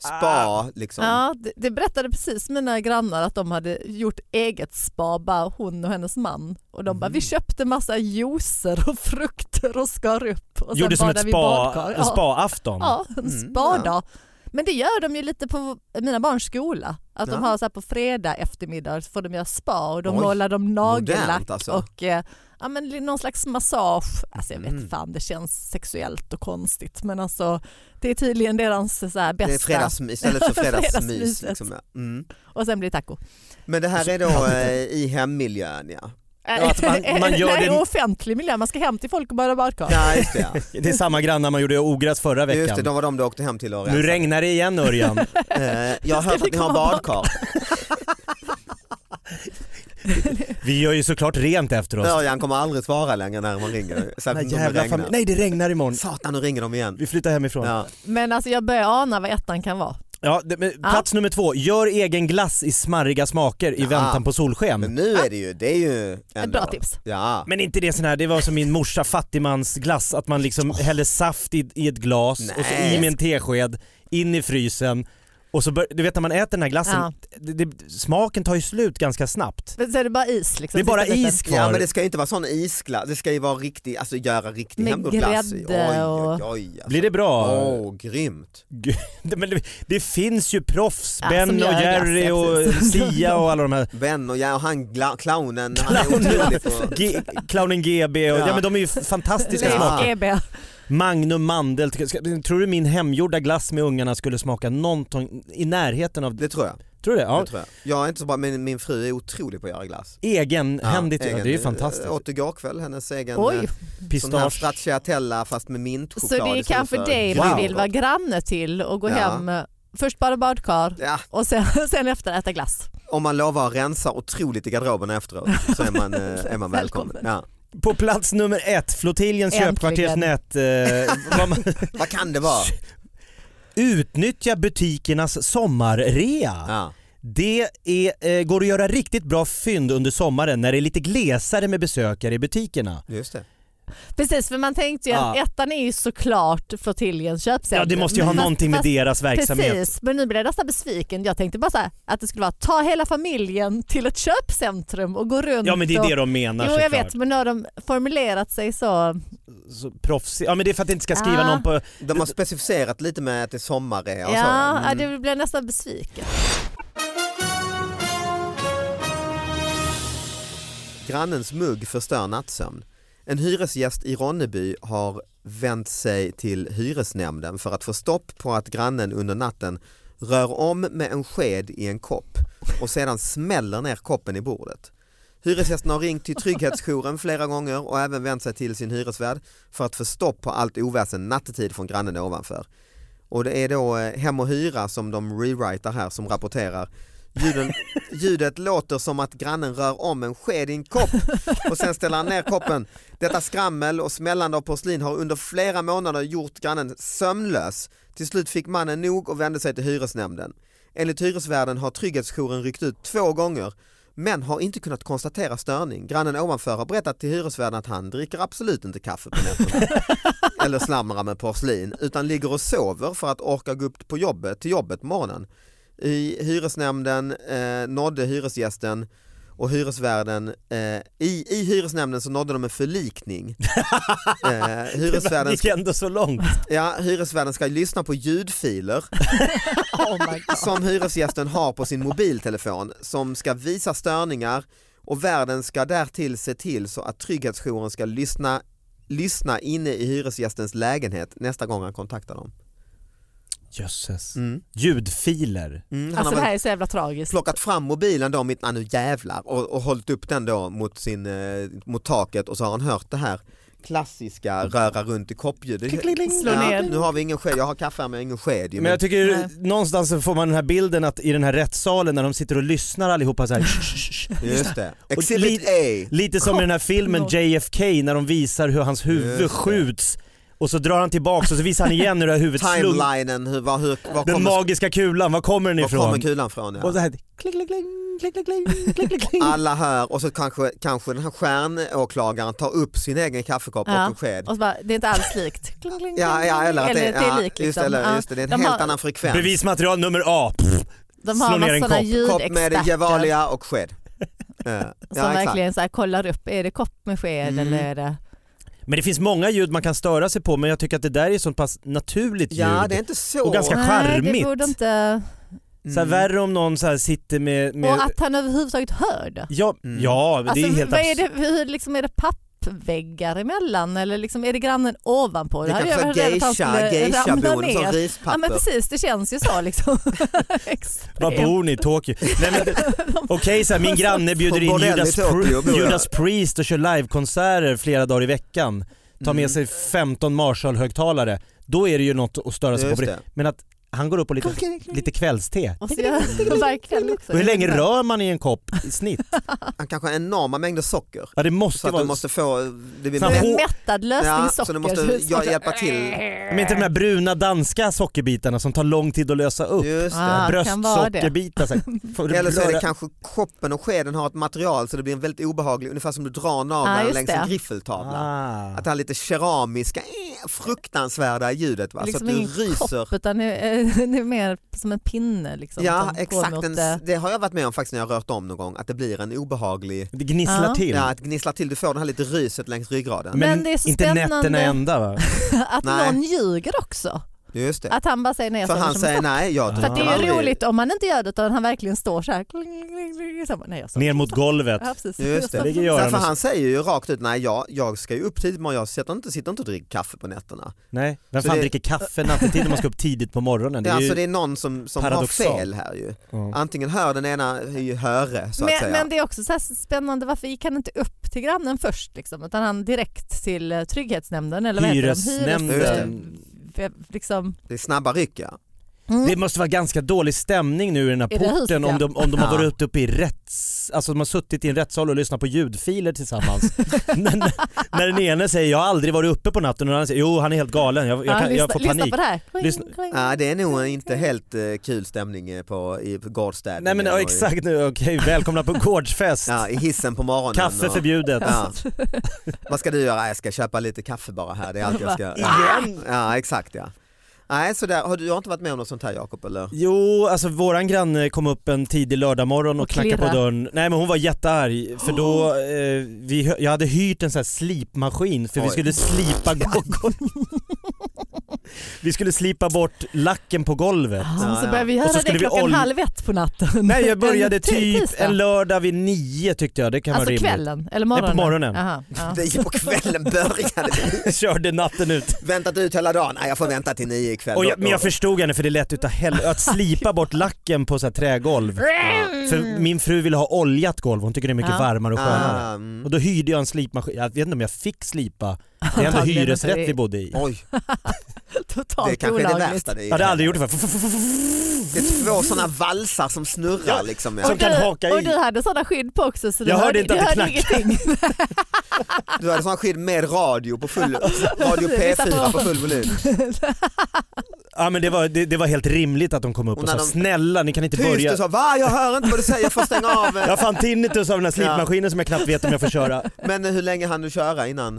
[SPEAKER 2] Spa liksom.
[SPEAKER 3] Ja, det, det berättade precis mina grannar att de hade gjort eget spa, bara hon och hennes man. Och de bara,
[SPEAKER 4] Mm.
[SPEAKER 3] vi köpte massa juicer och frukter och skar upp. Och sen
[SPEAKER 4] Gjorde som ett
[SPEAKER 3] badade vi i
[SPEAKER 4] spa,
[SPEAKER 3] badkar.
[SPEAKER 4] en
[SPEAKER 3] ja.
[SPEAKER 4] spa-afton.
[SPEAKER 3] Ja, en
[SPEAKER 2] Mm,
[SPEAKER 3] spadag. Men det gör de ju lite på mina barns skola. Att de
[SPEAKER 2] Ja.
[SPEAKER 3] har så här på fredag eftermiddag så får de göra spa och de
[SPEAKER 2] Oj,
[SPEAKER 3] målar dem nagellack
[SPEAKER 2] modernt alltså.
[SPEAKER 3] och eh, ja, men li- någon slags massage. Alltså jag vet
[SPEAKER 2] Mm.
[SPEAKER 3] fan, det känns sexuellt och konstigt men alltså det är tydligen deras eh, så här
[SPEAKER 2] Det
[SPEAKER 3] bästa.
[SPEAKER 2] är fredagsmys istället för fredagsmys.
[SPEAKER 3] Fredagsmyset.
[SPEAKER 2] liksom, ja. mm.
[SPEAKER 3] Och sen blir det taco.
[SPEAKER 2] Men det här är då eh, i hemmiljön ja.
[SPEAKER 4] Ja, att man- man gör
[SPEAKER 3] Nej,
[SPEAKER 4] det-
[SPEAKER 3] offentlig miljö, man ska hem till folk och bada badkar.
[SPEAKER 2] Ja just det ja.
[SPEAKER 4] Det är samma grannar man gjorde i ogräs förra veckan.
[SPEAKER 2] Just det, de var de du åkte hem till och
[SPEAKER 4] nu
[SPEAKER 2] rensade.
[SPEAKER 4] regnar det igen Örjan.
[SPEAKER 2] Eh, Jag har hört
[SPEAKER 3] vi
[SPEAKER 2] att ni har
[SPEAKER 3] komma
[SPEAKER 2] badkar.
[SPEAKER 4] Vi gör ju såklart rent efter oss.
[SPEAKER 2] Ja, han kommer aldrig svara längre när man ringer.
[SPEAKER 4] Den
[SPEAKER 2] Särskilt
[SPEAKER 4] här
[SPEAKER 2] om det
[SPEAKER 4] jävla
[SPEAKER 2] regnar.
[SPEAKER 4] familj- Nej det regnar imorgon.
[SPEAKER 2] Satan, nu ringer de igen.
[SPEAKER 4] Vi flyttar hemifrån. Ja.
[SPEAKER 2] Ja.
[SPEAKER 3] Men alltså jag börjar ana vad ettan kan vara.
[SPEAKER 4] det, men, plats nummer två, gör egen glass i smarriga smaker i
[SPEAKER 2] Ja.
[SPEAKER 4] väntan på solsken.
[SPEAKER 2] Men
[SPEAKER 4] Men,
[SPEAKER 2] nu är det ju, det är ju
[SPEAKER 3] Ett
[SPEAKER 2] ändå-
[SPEAKER 3] bra tips.
[SPEAKER 2] Ja.
[SPEAKER 4] inte det sån här, det var som min morsa fattigmansglass, att man liksom häller saft i, i ett glas och så
[SPEAKER 2] Nej.
[SPEAKER 4] i med en tesked, in i frysen. Och så bör, du vet när man äter den här glassen,
[SPEAKER 3] Ja.
[SPEAKER 4] det, det, smaken tar ju slut ganska snabbt.
[SPEAKER 3] Men Så är det bara is liksom.
[SPEAKER 4] Det är bara
[SPEAKER 3] sista biten.
[SPEAKER 4] is kvar.
[SPEAKER 2] Ja men det ska ju inte vara sån isglass, det ska ju vara riktig, alltså göra riktig
[SPEAKER 3] Med
[SPEAKER 2] hemgjord glass. i.
[SPEAKER 3] grädde och-
[SPEAKER 2] Oj, oj, oj. Alltså.
[SPEAKER 4] Blir det bra?
[SPEAKER 2] Åh, grymt.
[SPEAKER 4] Gud, Men det, det finns ju proffs,
[SPEAKER 3] Ja, som
[SPEAKER 4] Ben och
[SPEAKER 3] gör
[SPEAKER 4] Jerry
[SPEAKER 3] glass, ja,
[SPEAKER 4] och
[SPEAKER 3] precis.
[SPEAKER 4] Sia och alla de här.
[SPEAKER 2] Ben och jag och han gla- clownen, han är
[SPEAKER 4] Clownen.
[SPEAKER 2] otrolig
[SPEAKER 3] alltså.
[SPEAKER 2] på...
[SPEAKER 4] G- Clownen GB och, ja.
[SPEAKER 2] Ja.
[SPEAKER 4] men de är ju fantastiska
[SPEAKER 3] Leif
[SPEAKER 4] smaker.
[SPEAKER 3] GB.
[SPEAKER 4] Magnum mandel, Ska- ska- tror du min hemgjorda glass med ungarna skulle smaka någonting i närheten av det?
[SPEAKER 2] Det tror jag.
[SPEAKER 4] Tror du det? Ja.
[SPEAKER 2] Det tror jag. jag är inte så bra, men min fru är otrolig på att göra glass.
[SPEAKER 4] Egenhändigt, ja,
[SPEAKER 2] egen-
[SPEAKER 4] det är ju fantastiskt.
[SPEAKER 2] Jag åt igår kväll hennes egen
[SPEAKER 3] Oj,
[SPEAKER 2] eh, sån här
[SPEAKER 4] Pistage.
[SPEAKER 2] stracciatella fast med
[SPEAKER 3] så
[SPEAKER 2] mintchoklad.
[SPEAKER 3] det är
[SPEAKER 2] istället
[SPEAKER 3] kanske
[SPEAKER 2] för
[SPEAKER 3] dig
[SPEAKER 4] Wow.
[SPEAKER 3] man vill vara granne till och gå
[SPEAKER 2] Ja.
[SPEAKER 3] hem. eh, Först bara badkar
[SPEAKER 2] Ja,
[SPEAKER 3] och sen, sen efter äta glass.
[SPEAKER 2] om man lovar att rensa otroligt i garderoben efteråt så är man, eh, är man välkommen. Ja.
[SPEAKER 4] På plats nummer ett, Flottiljens
[SPEAKER 3] Äntligen.
[SPEAKER 4] köpkvartersnät. Eh, vad man,
[SPEAKER 2] Vad kan det vara?
[SPEAKER 4] utnyttja butikernas sommarrea.
[SPEAKER 2] Ja.
[SPEAKER 4] Det är, eh, går att göra riktigt bra fynd under sommaren när det är lite glesare med besökare i butikerna.
[SPEAKER 2] Just det.
[SPEAKER 3] Precis, för man tänkte ju att
[SPEAKER 4] Ja.
[SPEAKER 3] ettan är ju såklart flottiljens
[SPEAKER 4] Ja,
[SPEAKER 3] köpcentrum.
[SPEAKER 4] det måste ju ha
[SPEAKER 3] Men fast-
[SPEAKER 4] någonting med
[SPEAKER 3] fast-
[SPEAKER 4] deras verksamhet.
[SPEAKER 3] Precis, men nu blir jag nästan besviken. Jag tänkte bara så här, att det skulle vara ta hela familjen till ett köpcentrum och gå runt.
[SPEAKER 4] Ja men det är det
[SPEAKER 3] och...
[SPEAKER 4] de menar
[SPEAKER 3] Jo jag
[SPEAKER 4] såklart.
[SPEAKER 3] vet, men nu har de formulerat sig så.
[SPEAKER 4] Så proffsig. Ja men det är för att det inte ska skriva
[SPEAKER 3] Ah.
[SPEAKER 4] någon på...
[SPEAKER 2] De har specificerat lite med att det är sommarrea och så.
[SPEAKER 3] Ja,
[SPEAKER 2] Mm.
[SPEAKER 3] ja, det blir jag nästan besviken.
[SPEAKER 2] Grannens mugg förstör nattsömn. En hyresgäst i Ronneby har vänt sig till hyresnämnden för att få stopp på att grannen under natten rör om med en sked i en kopp och sedan smäller ner koppen i bordet. Hyresgästen har ringt till trygghetsjouren flera gånger och även vänt sig till sin hyresvärd för att få stopp på allt oväsen nattetid från grannen ovanför. Och det är då eh, Hem och Hyra som de rewritar här som rapporterar. Ljuden, ljudet låter som att grannen rör om en sked i en kopp och sen ställer han ner koppen. Detta skrammel och smällande av porslin har under flera månader gjort grannen sömnlös. Till slut fick mannen nog och vände sig till hyresnämnden. Enligt hyresvärden har trygghetsjouren ryckt ut två gånger men har inte kunnat konstatera störning. Grannen ovanför har berättat till hyresvärden att han dricker absolut inte kaffe på nätterna eller slamrar med porslin utan ligger och sover för att orka gå upp på jobbet, till jobbet på morgonen. I hyresnämnden eh, nådde hyresgästen och hyresvärden, eh, i, i hyresnämnden så nådde de en förlikning. eh,
[SPEAKER 4] Det
[SPEAKER 2] hyresvärden,
[SPEAKER 4] gick ändå så långt.
[SPEAKER 2] ja, hyresvärden ska lyssna på ljudfiler
[SPEAKER 3] Oh my God.
[SPEAKER 2] som hyresgästen har på sin mobiltelefon som ska visa störningar och värden ska därtill se till så att trygghetsjouren ska lyssna, lyssna inne i hyresgästens lägenhet nästa gång han kontaktar dem.
[SPEAKER 4] Jösses.
[SPEAKER 2] Mm.
[SPEAKER 4] Ljudfiler.
[SPEAKER 2] Mm, han
[SPEAKER 3] Alltså
[SPEAKER 2] har
[SPEAKER 3] det
[SPEAKER 2] väl
[SPEAKER 3] här är så jävla tragiskt.
[SPEAKER 2] plockat fram mobilen då mitt, ah, nu jävlar och, och hållit upp den då mot, sin, eh, mot taket och så har han hört det här klassiska röra runt i koppljud.
[SPEAKER 3] Slå ner.
[SPEAKER 2] nu har vi ingen sked, jag har kaffe här men jag har ingen sked. ju,
[SPEAKER 4] Men jag tycker
[SPEAKER 2] Mm.
[SPEAKER 3] Nej.
[SPEAKER 4] någonstans så får man den här bilden att i den här rättssalen när de sitter och lyssnar allihopa så här.
[SPEAKER 2] Just det.
[SPEAKER 4] Och
[SPEAKER 2] Exhibit A.
[SPEAKER 4] Lite som i den här filmen
[SPEAKER 3] Kopplar.
[SPEAKER 4] JFK när de visar hur hans
[SPEAKER 2] Just
[SPEAKER 4] huvud
[SPEAKER 2] det.
[SPEAKER 4] skjuts och så drar han tillbaks och så visar han igen hur det här huvudet slung.
[SPEAKER 2] Timelinen, hur, var, hur, var,
[SPEAKER 4] Den
[SPEAKER 2] kommer,
[SPEAKER 4] magiska kulan, var kommer den
[SPEAKER 2] var kommer
[SPEAKER 4] ifrån?
[SPEAKER 2] kulan från? Ja.
[SPEAKER 4] Och så här, klick, klick, klick, klick, klick, klick, klick, klick, klick.
[SPEAKER 2] alla hör och så kanske, kanske den här stjärnåklagaren tar upp sin egen kaffekopp
[SPEAKER 3] Ja.
[SPEAKER 2] och en sked.
[SPEAKER 3] Och så bara, det är inte alls likt. Kling, kling,
[SPEAKER 2] Ja, ja,
[SPEAKER 3] kling,
[SPEAKER 2] eller att det,
[SPEAKER 3] eller
[SPEAKER 2] ja,
[SPEAKER 3] är likt.
[SPEAKER 2] just,
[SPEAKER 3] Liksom.
[SPEAKER 2] det, eller,
[SPEAKER 3] Ja.
[SPEAKER 2] just det, det är en
[SPEAKER 3] De
[SPEAKER 2] helt
[SPEAKER 3] har-
[SPEAKER 2] annan frekvens.
[SPEAKER 4] Bevismaterial nummer A.
[SPEAKER 3] De har
[SPEAKER 4] Slå
[SPEAKER 3] en
[SPEAKER 4] ner
[SPEAKER 3] massa
[SPEAKER 4] en
[SPEAKER 3] sådana
[SPEAKER 4] kopp.
[SPEAKER 2] Kopp med det
[SPEAKER 3] ljudexperter
[SPEAKER 2] Gevalia och sked. Eh, ja,
[SPEAKER 3] som verkligen så här, kollar upp, är det kopp med sked
[SPEAKER 2] Mm.
[SPEAKER 3] eller är det...
[SPEAKER 4] Men det finns många ljud man kan störa sig på men jag tycker att det där är så pass naturligt ljud.
[SPEAKER 2] Ja, det är inte så.
[SPEAKER 4] Och ganska-
[SPEAKER 3] Nej,
[SPEAKER 4] charmigt.
[SPEAKER 3] det borde inte...
[SPEAKER 2] Mm.
[SPEAKER 4] Så här, värre om någon så här sitter med... med
[SPEAKER 3] Och att han överhuvudtaget hör det.
[SPEAKER 4] ja,
[SPEAKER 2] Mm.
[SPEAKER 4] ja, det
[SPEAKER 3] Alltså,
[SPEAKER 4] är helt
[SPEAKER 3] vad är
[SPEAKER 4] abs-
[SPEAKER 3] det, hur, liksom, är det pappväggar emellan eller liksom, är det grannen ovanpå?
[SPEAKER 2] Det
[SPEAKER 3] hade
[SPEAKER 2] kanske
[SPEAKER 3] jag
[SPEAKER 2] var
[SPEAKER 3] varit rädd att han
[SPEAKER 2] geisha,
[SPEAKER 3] skulle ramla
[SPEAKER 2] geishabon som
[SPEAKER 3] ner.
[SPEAKER 2] rispapper.
[SPEAKER 3] Ja men precis, det känns ju så liksom. Extremt.
[SPEAKER 4] Var bor ni? Tokyo? Nej, men, Okej, så här, min granne bjuder
[SPEAKER 2] Alltså, På
[SPEAKER 4] in
[SPEAKER 2] bordell i
[SPEAKER 4] Judas,
[SPEAKER 2] Tokyo
[SPEAKER 4] Pri-
[SPEAKER 2] bor jag.
[SPEAKER 4] Judas Priest och kör livekonserter flera dagar i veckan. Tar med
[SPEAKER 2] Mm.
[SPEAKER 4] sig 15 Marshall-högtalare. Då är det ju något att störa sig
[SPEAKER 2] Just
[SPEAKER 4] på.
[SPEAKER 2] det.
[SPEAKER 4] Men att Han går upp och lite, lite kvällste.
[SPEAKER 3] Och så gör de verkligen också.
[SPEAKER 4] Och hur länge rör man i en kopp i snitt?
[SPEAKER 2] Han kanske har enorma mängder socker.
[SPEAKER 4] Ja, det
[SPEAKER 2] Så
[SPEAKER 4] måste
[SPEAKER 2] att du
[SPEAKER 4] vara...
[SPEAKER 2] måste få... Det blir
[SPEAKER 4] Så han
[SPEAKER 3] Det är
[SPEAKER 4] får-
[SPEAKER 3] en mättad lösning
[SPEAKER 2] ja,
[SPEAKER 3] socker.
[SPEAKER 2] så du måste
[SPEAKER 3] det är så-
[SPEAKER 2] jag hjälpa till.
[SPEAKER 4] Men inte de här bruna danska sockerbitarna som tar lång tid att lösa upp.
[SPEAKER 2] Just
[SPEAKER 3] Ah,
[SPEAKER 2] det.
[SPEAKER 3] det kan vara det.
[SPEAKER 4] Bröstsockerbitar. så här. Får du
[SPEAKER 2] Eller så är det
[SPEAKER 4] röra-
[SPEAKER 2] kanske koppen och skeden har ett material så det blir en väldigt obehaglig, ungefär som du drar
[SPEAKER 3] Ja,
[SPEAKER 2] naveln
[SPEAKER 3] Ah, just
[SPEAKER 2] längs
[SPEAKER 3] det.
[SPEAKER 2] en griffeltavla.
[SPEAKER 4] Ah.
[SPEAKER 2] Att det här lite keramiska, eh, fruktansvärda ljudet va?
[SPEAKER 3] liksom
[SPEAKER 2] så att
[SPEAKER 3] ingen
[SPEAKER 2] du ryser.
[SPEAKER 3] kopp utan det är, det är mer som en pinne. Liksom,
[SPEAKER 2] Ja
[SPEAKER 3] som går
[SPEAKER 2] exakt,
[SPEAKER 3] mot eh,
[SPEAKER 2] en,
[SPEAKER 3] det.
[SPEAKER 2] det har jag varit med om faktiskt när jag har rört om någon gång, att det blir en obehaglig,
[SPEAKER 4] Det gnisslar
[SPEAKER 3] Ja.
[SPEAKER 4] till.
[SPEAKER 2] ja, att gnissla till, du får den här lite ryset längs ryggraden.
[SPEAKER 3] Men det är så
[SPEAKER 4] inte nätterna
[SPEAKER 3] spännande.
[SPEAKER 4] ända va?
[SPEAKER 3] eh, Att
[SPEAKER 2] Nej.
[SPEAKER 3] någon ljuger också.
[SPEAKER 2] Just det.
[SPEAKER 3] Att han bara säger nej. jag
[SPEAKER 2] För
[SPEAKER 3] sover
[SPEAKER 2] han
[SPEAKER 3] som
[SPEAKER 2] säger
[SPEAKER 3] en socker.
[SPEAKER 2] nej, jag
[SPEAKER 4] För
[SPEAKER 3] För
[SPEAKER 2] tänker
[SPEAKER 3] att det är ju
[SPEAKER 2] aldrig-
[SPEAKER 3] roligt om man inte gör det utan han verkligen står så här. kling, kling, kling, så bara, Nej, jag sover.
[SPEAKER 4] Ner mot golvet.
[SPEAKER 3] Ja,
[SPEAKER 2] Just
[SPEAKER 3] precis.
[SPEAKER 2] det.
[SPEAKER 3] Jag sover.
[SPEAKER 4] Ligger
[SPEAKER 2] Så
[SPEAKER 4] Göran
[SPEAKER 2] här, för
[SPEAKER 4] och-
[SPEAKER 2] han säger ju rakt ut, nej jag, jag ska ju upp tidigt men jag sitter inte, sitter inte och dricker kaffe på nätterna.
[SPEAKER 4] Nej, vem
[SPEAKER 2] Så
[SPEAKER 4] fan
[SPEAKER 2] det-
[SPEAKER 4] dricker kaffe nattetid om man ska upp tidigt på morgonen?
[SPEAKER 2] Det
[SPEAKER 4] Det
[SPEAKER 2] är,
[SPEAKER 4] är
[SPEAKER 2] alltså,
[SPEAKER 4] ju...
[SPEAKER 2] det är någon som, som har
[SPEAKER 4] paradoxalt.
[SPEAKER 2] fel här ju.
[SPEAKER 4] Ja.
[SPEAKER 2] Antingen hör den ena är ju höre så att
[SPEAKER 3] Men,
[SPEAKER 2] säga.
[SPEAKER 3] men det är också så här spännande, varför gick han inte upp till grannen först? Liksom, utan han direkt till eh, trygghetsnämnden eller vad
[SPEAKER 4] Hyresnämnden.
[SPEAKER 3] heter de? Hyres, eh, liksom.
[SPEAKER 2] Det är snabba ryck ja.
[SPEAKER 3] Mm.
[SPEAKER 4] Det måste vara ganska dålig stämning nu i den här
[SPEAKER 3] I det här
[SPEAKER 4] porten
[SPEAKER 3] huset,
[SPEAKER 4] om de, om de har
[SPEAKER 2] Ja.
[SPEAKER 4] varit uppe i rätts... Alltså de har suttit i en rättssal och lyssnat på ljudfiler tillsammans. när, när- när den ene säger jag har aldrig varit uppe på natten och den andra säger jo han är helt galen, jag, jag,
[SPEAKER 3] Ja,
[SPEAKER 4] kan, jag
[SPEAKER 3] lyssna,
[SPEAKER 4] får
[SPEAKER 3] lyssna
[SPEAKER 4] panik.
[SPEAKER 3] på det här. Kling,
[SPEAKER 4] Lyssna.
[SPEAKER 3] kling.
[SPEAKER 2] ja. Det är nog inte helt eh, kul stämning eh, på, i på gårdsstädningen.
[SPEAKER 4] Nej men ja,
[SPEAKER 2] och i-
[SPEAKER 4] exakt nu, okej välkomna på gårdsfest.
[SPEAKER 2] Ja, I hissen på morgonen.
[SPEAKER 4] Kaffe
[SPEAKER 2] och-
[SPEAKER 4] förbjudet.
[SPEAKER 2] Ja. Vad ska du göra? Jag ska köpa lite kaffe bara här. Det är allt jag ska...
[SPEAKER 4] Igen?
[SPEAKER 2] Ja exakt ja. Nej, så där, har du, du har inte varit med om något sånt här Jakob eller?
[SPEAKER 4] Jo, alltså våran granne kom upp en tidig lördagmorgon och,
[SPEAKER 3] Och
[SPEAKER 4] knackade på
[SPEAKER 3] klirra.
[SPEAKER 4] dörren. Nej men hon var jättearg för då, eh, vi, hö- jag hade hyrt en sån här slipmaskin för vi
[SPEAKER 2] Oj.
[SPEAKER 4] skulle slipa golvet. vi skulle slipa bort lacken på golvet.
[SPEAKER 3] Ja,
[SPEAKER 2] Ja,
[SPEAKER 3] så
[SPEAKER 2] ja.
[SPEAKER 3] börjar vi
[SPEAKER 4] Och så
[SPEAKER 3] göra
[SPEAKER 4] skulle
[SPEAKER 3] det
[SPEAKER 4] vi
[SPEAKER 3] klockan
[SPEAKER 4] olja-
[SPEAKER 3] halv ett på natten.
[SPEAKER 4] Nej jag började
[SPEAKER 3] En ti-
[SPEAKER 4] typ
[SPEAKER 3] tisdag.
[SPEAKER 4] en lördag vid nio tyckte jag, det kan
[SPEAKER 3] Alltså
[SPEAKER 4] vara rimligt.
[SPEAKER 3] kvällen eller
[SPEAKER 4] Nej,
[SPEAKER 3] morgonen?
[SPEAKER 4] på morgonen.
[SPEAKER 3] Jaha, ja.
[SPEAKER 2] Det- På kvällen började det.
[SPEAKER 4] Körde natten ut.
[SPEAKER 2] Väntat ut hela dagen. Nej, jag får vänta till nio ikväll.
[SPEAKER 4] Och jag,
[SPEAKER 2] Då-
[SPEAKER 4] men jag
[SPEAKER 2] då-
[SPEAKER 4] förstod henne för det lät utav helvete, att slipa bort lacken på så här trägolv. För min fru ville ha oljat golv, hon tycker det är mycket
[SPEAKER 3] Ja.
[SPEAKER 4] varmare och skönare.
[SPEAKER 2] Ah, mm.
[SPEAKER 4] Och då hyrde jag en slipmaskin, jag vet inte om jag fick slipa. Det är ändå
[SPEAKER 3] Antagligen
[SPEAKER 4] hyresrätt
[SPEAKER 3] inte.
[SPEAKER 4] vi bodde i.
[SPEAKER 2] Oj, det
[SPEAKER 3] Totalt
[SPEAKER 2] kanske är det
[SPEAKER 3] olagligt.
[SPEAKER 2] värsta. Det är,
[SPEAKER 4] Jag hade aldrig gjort det förr.
[SPEAKER 2] Det är två sådana valsar som snurrar
[SPEAKER 4] Ja,
[SPEAKER 2] liksom.
[SPEAKER 4] som
[SPEAKER 2] Ja.
[SPEAKER 4] kan haka i.
[SPEAKER 3] och du hade sådana skydd på också så du
[SPEAKER 4] Jag hörde inte
[SPEAKER 3] du
[SPEAKER 4] att det
[SPEAKER 3] hörde ingenting.
[SPEAKER 2] Du hade sån skydd med radio på full, radio P4 på full volym.
[SPEAKER 4] Ja men det var, det, det var helt rimligt att de kom upp
[SPEAKER 2] Och
[SPEAKER 4] och
[SPEAKER 2] när
[SPEAKER 4] sa
[SPEAKER 2] de-
[SPEAKER 4] snälla ni kan inte
[SPEAKER 2] Tyst
[SPEAKER 4] börja.
[SPEAKER 2] du sa, va jag hör inte vad du säger, jag får stänga av. eh."
[SPEAKER 4] Jag fann tinnitus av den här slipmaskinen som jag knappt vet om jag får köra.
[SPEAKER 2] Men eh, hur länge hann du köra innan?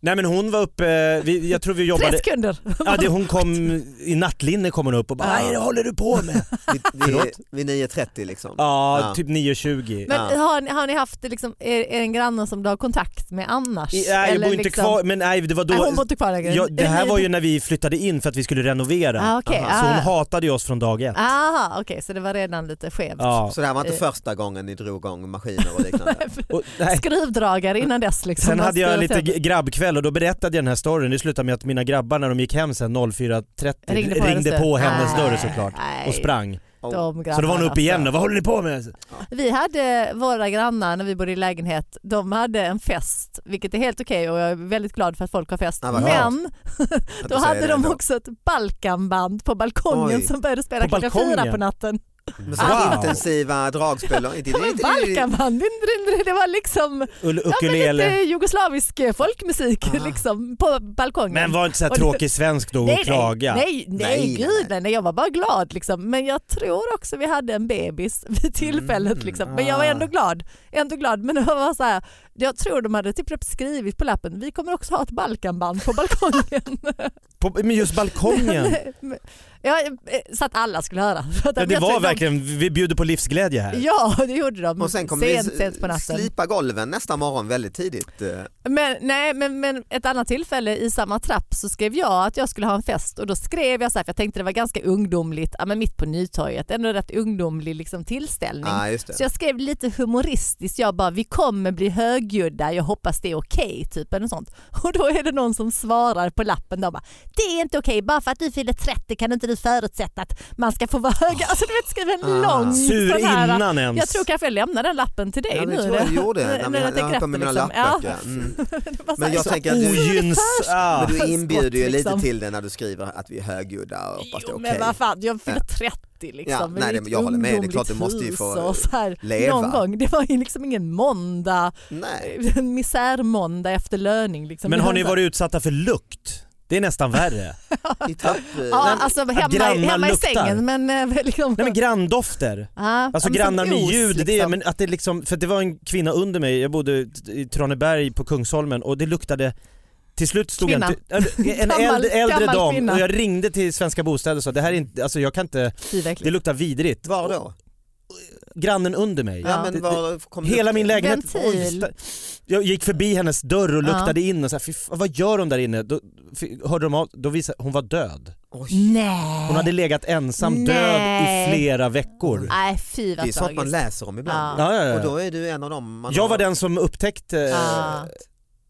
[SPEAKER 4] Nej men hon var uppe, eh, vi, jag tror vi
[SPEAKER 3] Tre
[SPEAKER 4] jobbade,
[SPEAKER 3] sekunder.
[SPEAKER 4] ja, det, hon kom i nattlinne kom hon upp och bara
[SPEAKER 2] Ja.
[SPEAKER 4] nej det håller du på med?
[SPEAKER 2] Vid, vid, vid 9.30 liksom?
[SPEAKER 4] Ja,
[SPEAKER 2] Ja.
[SPEAKER 4] typ 9.20.
[SPEAKER 3] Men
[SPEAKER 2] Ja.
[SPEAKER 3] har, ni, har ni haft liksom, är, är det en granne som du har kontakt med annars?
[SPEAKER 4] I, nej jag
[SPEAKER 3] Eller
[SPEAKER 4] bor inte
[SPEAKER 3] liksom-
[SPEAKER 4] kvar, men nej det var då,
[SPEAKER 3] Nej, hon bor inte kvar längre.
[SPEAKER 4] ja, det här var ju när vi flyttade in för att vi skulle renovera.
[SPEAKER 3] Ah, okej.
[SPEAKER 2] Aha.
[SPEAKER 3] ah.
[SPEAKER 4] Så hon hatade ju oss från dag ett.
[SPEAKER 3] Aha, okej, så det var redan lite skevt.
[SPEAKER 4] Ja.
[SPEAKER 2] Så det här var inte
[SPEAKER 3] Eh.
[SPEAKER 2] första gången ni drog igång maskiner och liknande?
[SPEAKER 4] Och, nej.
[SPEAKER 3] Skruvdragare innan dess liksom.
[SPEAKER 4] Sen
[SPEAKER 3] Man
[SPEAKER 4] hade jag
[SPEAKER 3] styr
[SPEAKER 4] lite
[SPEAKER 3] åt
[SPEAKER 4] g- grabbkväll och då berättade jag den här storyn. Det slutade med att mina grabbar när de gick hem sen 04.30
[SPEAKER 3] hennes-
[SPEAKER 4] Typ ringde på,
[SPEAKER 3] hennes dörr.
[SPEAKER 4] hennes
[SPEAKER 3] Nej,
[SPEAKER 4] dörr såklart
[SPEAKER 3] nej,
[SPEAKER 4] och sprang.
[SPEAKER 2] Oh.
[SPEAKER 3] de
[SPEAKER 4] Så då var hon
[SPEAKER 3] grabbarna,
[SPEAKER 4] uppe igen
[SPEAKER 3] alltså.
[SPEAKER 4] och vad håller ni på med?
[SPEAKER 3] Vi hade våra grannar när vi bodde i lägenhet, de hade en fest, vilket är helt okej och jag är väldigt glad för att folk har fest.
[SPEAKER 2] Ja, vad
[SPEAKER 3] Men
[SPEAKER 2] Att
[SPEAKER 3] då
[SPEAKER 2] du säger
[SPEAKER 3] hade
[SPEAKER 2] det
[SPEAKER 3] de
[SPEAKER 2] ändå.
[SPEAKER 3] också ett Balkanband på balkongen
[SPEAKER 2] Oj.
[SPEAKER 3] som började spela
[SPEAKER 4] På
[SPEAKER 3] klockan
[SPEAKER 4] balkongen?
[SPEAKER 3] fyra på natten.
[SPEAKER 2] Men så
[SPEAKER 4] Wow.
[SPEAKER 2] intensiva dragspel och inte...
[SPEAKER 3] Det var en Balkanband, det- det- det- det var liksom
[SPEAKER 4] Ull-
[SPEAKER 3] ja, men lite
[SPEAKER 4] Ukulele.
[SPEAKER 3] jugoslavisk folkmusik
[SPEAKER 2] Ah.
[SPEAKER 3] liksom, på balkongen.
[SPEAKER 4] Men var inte så här
[SPEAKER 3] Och det-
[SPEAKER 4] tråkig svensk då och klaga.
[SPEAKER 3] Nej, nej,
[SPEAKER 2] Nej, nej,
[SPEAKER 3] nej, gud nej, nej. Jag var bara glad liksom. Men jag tror också vi hade en bebis vid tillfället
[SPEAKER 2] Mm,
[SPEAKER 3] liksom. Men jag var
[SPEAKER 4] ah.
[SPEAKER 3] ändå glad. Ändå glad. Men det var så här, jag tror de hade typ skrivit på lappen, vi kommer också ha ett Balkanband på balkongen.
[SPEAKER 4] På, men just balkongen.
[SPEAKER 3] ja, eh, så att alla skulle höra. Så att
[SPEAKER 4] Ja,
[SPEAKER 3] jag
[SPEAKER 4] det
[SPEAKER 3] tror
[SPEAKER 4] var
[SPEAKER 3] de-
[SPEAKER 4] verkligen, vi bjuder på livsglädje här.
[SPEAKER 3] Ja, det gjorde de.
[SPEAKER 2] Och sen kom
[SPEAKER 3] sent,
[SPEAKER 2] vi
[SPEAKER 3] sent på
[SPEAKER 2] eh,
[SPEAKER 3] natten.
[SPEAKER 2] slipa golven nästa morgon väldigt tidigt. eh.
[SPEAKER 3] Men, nej, men, men ett annat tillfälle i samma trapp så skrev jag att jag skulle ha en fest och då skrev jag så här, för jag tänkte det var ganska ungdomligt, ja, men mitt på Nytorget, ändå rätt ungdomlig liksom, tillställning.
[SPEAKER 2] Ja, Ah, just det.
[SPEAKER 3] Så jag skrev lite humoristiskt, jag bara vi kommer bli Gudda, jag hoppas det är okej, typ eller något sånt. Och då är det någon som svarar på lappen då bara, det är inte okej, bara för att du fyller 30 kan inte du förutsätta att man ska få vara hög. Alltså du vet, skriva en
[SPEAKER 2] Ah.
[SPEAKER 3] lång
[SPEAKER 4] Sur
[SPEAKER 3] sån här,
[SPEAKER 4] innan ens.
[SPEAKER 3] Jag tror kanske jag lämnar den lappen till dig
[SPEAKER 2] Ja,
[SPEAKER 3] nu.
[SPEAKER 2] det tror jag du gjorde.
[SPEAKER 3] när-
[SPEAKER 2] Nej,
[SPEAKER 3] när
[SPEAKER 2] men jag,
[SPEAKER 3] tänker
[SPEAKER 2] jag har kommit med
[SPEAKER 3] efter,
[SPEAKER 2] mina
[SPEAKER 3] liksom. Ja.
[SPEAKER 2] lappböcker. Mm.
[SPEAKER 3] Alltså, Det var så
[SPEAKER 2] Men
[SPEAKER 3] här-
[SPEAKER 2] jag
[SPEAKER 3] så-
[SPEAKER 2] tänker att du,
[SPEAKER 4] Ogynns... Ah.
[SPEAKER 2] men du inbjuder ju
[SPEAKER 3] Skott,
[SPEAKER 2] lite
[SPEAKER 3] liksom.
[SPEAKER 2] till det när du skriver att vi är högljudda och hoppas det är
[SPEAKER 3] Jo,
[SPEAKER 2] okej.
[SPEAKER 3] men vad fan, jag fyller 30 liksom.
[SPEAKER 2] Ja,
[SPEAKER 3] med
[SPEAKER 2] nej,
[SPEAKER 3] mitt
[SPEAKER 2] det- jag håller med. Det är
[SPEAKER 3] ungdomligt
[SPEAKER 2] klart, du måste ju
[SPEAKER 3] hus
[SPEAKER 2] få,
[SPEAKER 3] och så här,
[SPEAKER 2] leva.
[SPEAKER 3] Någon gång. Det var ju liksom ingen måndag,
[SPEAKER 2] Nej.
[SPEAKER 3] en misärmåndag efter löning. Liksom.
[SPEAKER 4] Men har ni
[SPEAKER 3] Det var-
[SPEAKER 4] varit utsatta för lukt? Det är nästan värre.
[SPEAKER 2] I trapp, eh,
[SPEAKER 3] Ja,
[SPEAKER 4] Nej, men-
[SPEAKER 3] alltså hemma,
[SPEAKER 4] grannar
[SPEAKER 3] hemma i
[SPEAKER 4] luktar.
[SPEAKER 3] sängen men eh, liksom...
[SPEAKER 4] Nej men granndofter.
[SPEAKER 3] Ja,
[SPEAKER 4] Alltså
[SPEAKER 3] men som
[SPEAKER 4] grannar med
[SPEAKER 3] os,
[SPEAKER 4] ljud, det är,
[SPEAKER 3] liksom.
[SPEAKER 4] men att det liksom, för det var en kvinna under mig, jag bodde i Traneberg på Kungsholmen och det luktade till slut stod jag
[SPEAKER 3] Kvinna.
[SPEAKER 4] inte, en
[SPEAKER 3] Gammal-
[SPEAKER 4] äldre, äldre
[SPEAKER 3] gammal
[SPEAKER 4] dam
[SPEAKER 3] kvinna.
[SPEAKER 4] och jag ringde till Svenska Bostäder och sa det här är inte, alltså jag kan inte,
[SPEAKER 3] Fy, vad äckligt.
[SPEAKER 4] det luktar vidrigt.
[SPEAKER 2] Var då?
[SPEAKER 4] Grannen under mig.
[SPEAKER 2] Ja,
[SPEAKER 3] Ja.
[SPEAKER 2] men var kom
[SPEAKER 4] Hela min lägenhet,
[SPEAKER 3] Ventil.
[SPEAKER 4] Oj, sta- jag gick förbi hennes dörr och
[SPEAKER 3] Ja.
[SPEAKER 4] luktade in och så här, "Fy fan, vad gör de där inne? Då, fy- hörde de av, då visade, hon var död.
[SPEAKER 2] Oj.
[SPEAKER 3] Nej.
[SPEAKER 4] Hon hade legat ensam död i
[SPEAKER 3] Nej.
[SPEAKER 4] flera veckor.
[SPEAKER 3] Nej fy
[SPEAKER 2] Det är
[SPEAKER 3] vad
[SPEAKER 2] sånt man
[SPEAKER 3] tragiskt.
[SPEAKER 2] läser om ibland.
[SPEAKER 4] Ja, ja, ja.
[SPEAKER 2] Och då är du en av dem. Man
[SPEAKER 4] Jag
[SPEAKER 2] har-
[SPEAKER 4] var den som upptäckte,
[SPEAKER 3] Ah.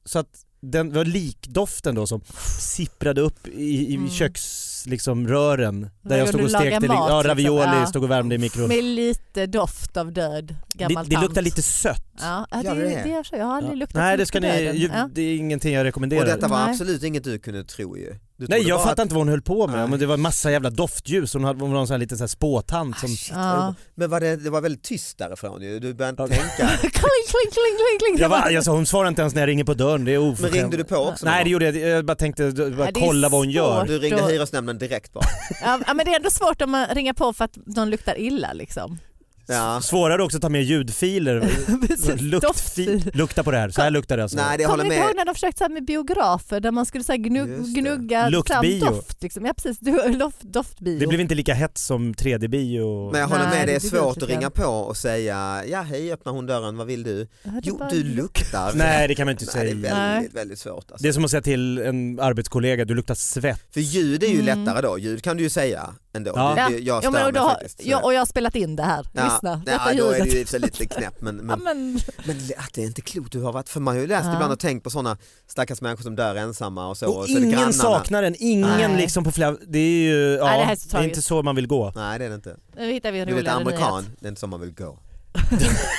[SPEAKER 4] så att den var likdoften då som sipprade upp i, i
[SPEAKER 3] Mm.
[SPEAKER 4] köks, liksom, rören där
[SPEAKER 3] När
[SPEAKER 4] jag
[SPEAKER 3] du
[SPEAKER 4] stod och
[SPEAKER 3] lagar
[SPEAKER 4] stekte li-
[SPEAKER 3] mat,
[SPEAKER 4] ja,
[SPEAKER 3] liksom.
[SPEAKER 4] ravioli,
[SPEAKER 3] Ja.
[SPEAKER 4] stod och värmde i mikron.
[SPEAKER 3] Med lite doft av död
[SPEAKER 4] Det,
[SPEAKER 3] gammal
[SPEAKER 4] det luktar
[SPEAKER 3] tant.
[SPEAKER 4] lite sött.
[SPEAKER 3] Ja, ja, det,
[SPEAKER 2] Gör
[SPEAKER 3] är
[SPEAKER 2] det
[SPEAKER 3] det
[SPEAKER 2] det?
[SPEAKER 3] gör så. Jag har aldrig luktat så
[SPEAKER 4] Nej det
[SPEAKER 3] mycket
[SPEAKER 4] ska ni,
[SPEAKER 3] döden.
[SPEAKER 4] ju,
[SPEAKER 3] Ja.
[SPEAKER 4] det är ingenting jag rekommenderar.
[SPEAKER 2] Och detta var
[SPEAKER 3] Nej.
[SPEAKER 2] absolut inget du kunde tro ju. Du
[SPEAKER 4] Nej
[SPEAKER 2] trodde
[SPEAKER 4] jag
[SPEAKER 2] bara
[SPEAKER 4] fattar inte vad hon höll på med,
[SPEAKER 2] Nej.
[SPEAKER 4] men det var massa jävla doftljus, hon hade hon var någon sån här liten så här spåtant som...
[SPEAKER 3] Ja.
[SPEAKER 2] att- Men var det, det var väldigt tyst därifrån ju. Du började
[SPEAKER 4] Ja.
[SPEAKER 2] inte tänka.
[SPEAKER 3] kling, kling, kling, kling, kling.
[SPEAKER 4] jag var, jag sa, hon svarar inte ens när jag ringer på dörren, det är
[SPEAKER 2] Men
[SPEAKER 4] oförskämt.
[SPEAKER 2] ringde du på också?
[SPEAKER 4] Nej det
[SPEAKER 2] någon
[SPEAKER 4] gjorde jag jag bara tänkte
[SPEAKER 3] Ja,
[SPEAKER 4] bara
[SPEAKER 3] det är
[SPEAKER 4] kolla vad hon
[SPEAKER 2] gång?
[SPEAKER 4] gör.
[SPEAKER 3] svårt.
[SPEAKER 2] Du ringde
[SPEAKER 3] Då-
[SPEAKER 2] hyresnämnden direkt bara.
[SPEAKER 3] Ja, ja, men det är ändå svårt om man ringer på för att de luktar illa liksom.
[SPEAKER 2] Ja.
[SPEAKER 4] Svårare också att ta med ljudfiler,
[SPEAKER 3] Precis,
[SPEAKER 4] Luktfil.
[SPEAKER 3] Alltså, doftfil.
[SPEAKER 4] Lukta på det här, så här luktar det alltså.
[SPEAKER 2] Nej det
[SPEAKER 3] Kommer
[SPEAKER 2] håller
[SPEAKER 3] ni inte ihåg
[SPEAKER 2] med.
[SPEAKER 3] när de försökte så här med biografer där man skulle så här gnugg,
[SPEAKER 2] Just det.
[SPEAKER 3] gnugga
[SPEAKER 4] Luktbio.
[SPEAKER 3] fram doft? Liksom. Ja precis, du, loft, doftbio.
[SPEAKER 4] Det blev inte lika hett som 3D-bio.
[SPEAKER 2] Men jag håller
[SPEAKER 3] Nej,
[SPEAKER 2] med, det är
[SPEAKER 3] det blir
[SPEAKER 2] svårt
[SPEAKER 3] dyrt,
[SPEAKER 2] att
[SPEAKER 3] tycker
[SPEAKER 2] ringa på och säga ja hej öppnar hon dörren, vad vill du?
[SPEAKER 3] Ja, det
[SPEAKER 2] Jo
[SPEAKER 3] typ bara-
[SPEAKER 2] du luktar.
[SPEAKER 4] Nej det kan man inte
[SPEAKER 2] Nej,
[SPEAKER 4] säga.
[SPEAKER 2] det är
[SPEAKER 4] det,
[SPEAKER 2] väldigt, väldigt svårt. Alltså.
[SPEAKER 4] är som att säga till en arbetskollega, du luktar svett.
[SPEAKER 2] För ljud är ju
[SPEAKER 3] Mm.
[SPEAKER 2] lättare då, ljud kan du ju säga ändå.
[SPEAKER 4] Ja.
[SPEAKER 2] Det- det- Jag
[SPEAKER 3] ja,
[SPEAKER 2] stör
[SPEAKER 3] men
[SPEAKER 2] mig
[SPEAKER 3] och, då, har-
[SPEAKER 2] faktiskt.
[SPEAKER 3] ja, och jag har spelat in det här, lyssna.
[SPEAKER 2] ja,
[SPEAKER 3] Detta
[SPEAKER 2] då är
[SPEAKER 3] ljudet.
[SPEAKER 2] det ju i och för sig lite knäpp men,
[SPEAKER 3] Ja,
[SPEAKER 2] men,
[SPEAKER 3] men,
[SPEAKER 2] men att det är inte klokt du har varit, för man har ju läst
[SPEAKER 3] Ja.
[SPEAKER 2] ibland och tänkt på sådana stackars människor som dör ensamma och så.
[SPEAKER 4] Och
[SPEAKER 2] så är det grannarna.
[SPEAKER 4] ingen saknar den, ingen
[SPEAKER 3] Nej.
[SPEAKER 4] liksom på flera... Det är ju... Ja,
[SPEAKER 3] det här är
[SPEAKER 4] det,
[SPEAKER 3] så
[SPEAKER 4] är
[SPEAKER 3] tragiskt.
[SPEAKER 4] inte så man vill gå.
[SPEAKER 2] Nej det är det inte.
[SPEAKER 3] nu hittar vi en
[SPEAKER 2] Du vet
[SPEAKER 3] roligare
[SPEAKER 2] amerikan,
[SPEAKER 3] nyhet.
[SPEAKER 2] det är inte så man vill gå.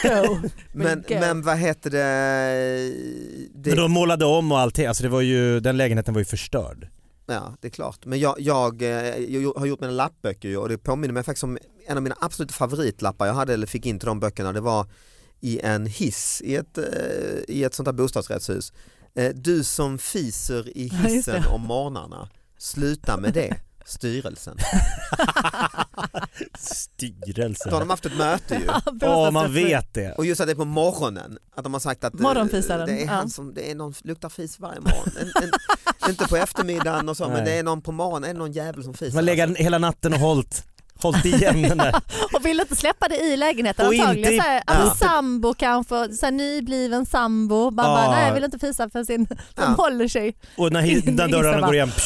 [SPEAKER 3] Go.
[SPEAKER 2] Men,
[SPEAKER 3] Go.
[SPEAKER 2] men vad heter det?
[SPEAKER 4] Men
[SPEAKER 2] det
[SPEAKER 4] de målade om och allting, alltså det var ju, den lägenheten var ju förstörd.
[SPEAKER 2] ja, det är klart. Men jag, jag, eh, jag har gjort mina lappböcker ju och det påminner mig faktiskt om en av mina absoluta favoritlappar jag hade eller fick in till de böckerna. Det var i en hiss i ett, eh, i ett sånt här bostadsrättshus. Eh, Du som fiser i
[SPEAKER 3] Ja, just det.
[SPEAKER 2] hissen om morgnarna, sluta med det. Styrelsen. Då har
[SPEAKER 4] Styrelsen.
[SPEAKER 2] de haft ett möte ju.
[SPEAKER 4] Ja, man vet det.
[SPEAKER 2] Och just att det är på morgonen, att de har sagt att eh,
[SPEAKER 3] Morgonfisaren,
[SPEAKER 2] det är han
[SPEAKER 3] ja.
[SPEAKER 2] som, det är någon som luktar fis varje morgon. En, en, inte på eftermiddagen och så
[SPEAKER 4] Nej.
[SPEAKER 2] men det är någon på morgonen, är det någon jävel som fiser.
[SPEAKER 4] Man lägger hela natten och hållit, hållit igen den där.
[SPEAKER 3] Och vill inte släppa det i lägenheten
[SPEAKER 4] Och inte
[SPEAKER 3] antagligen.
[SPEAKER 4] i-
[SPEAKER 3] så här, alltså
[SPEAKER 2] Ja.
[SPEAKER 3] Sambo kanske, så här, nybliven sambo. Man
[SPEAKER 4] Ja.
[SPEAKER 3] bara, nej jag vill inte fisa för sin... De
[SPEAKER 2] Ja.
[SPEAKER 3] håller sig.
[SPEAKER 4] Och när, hi- när dörrarna går igen,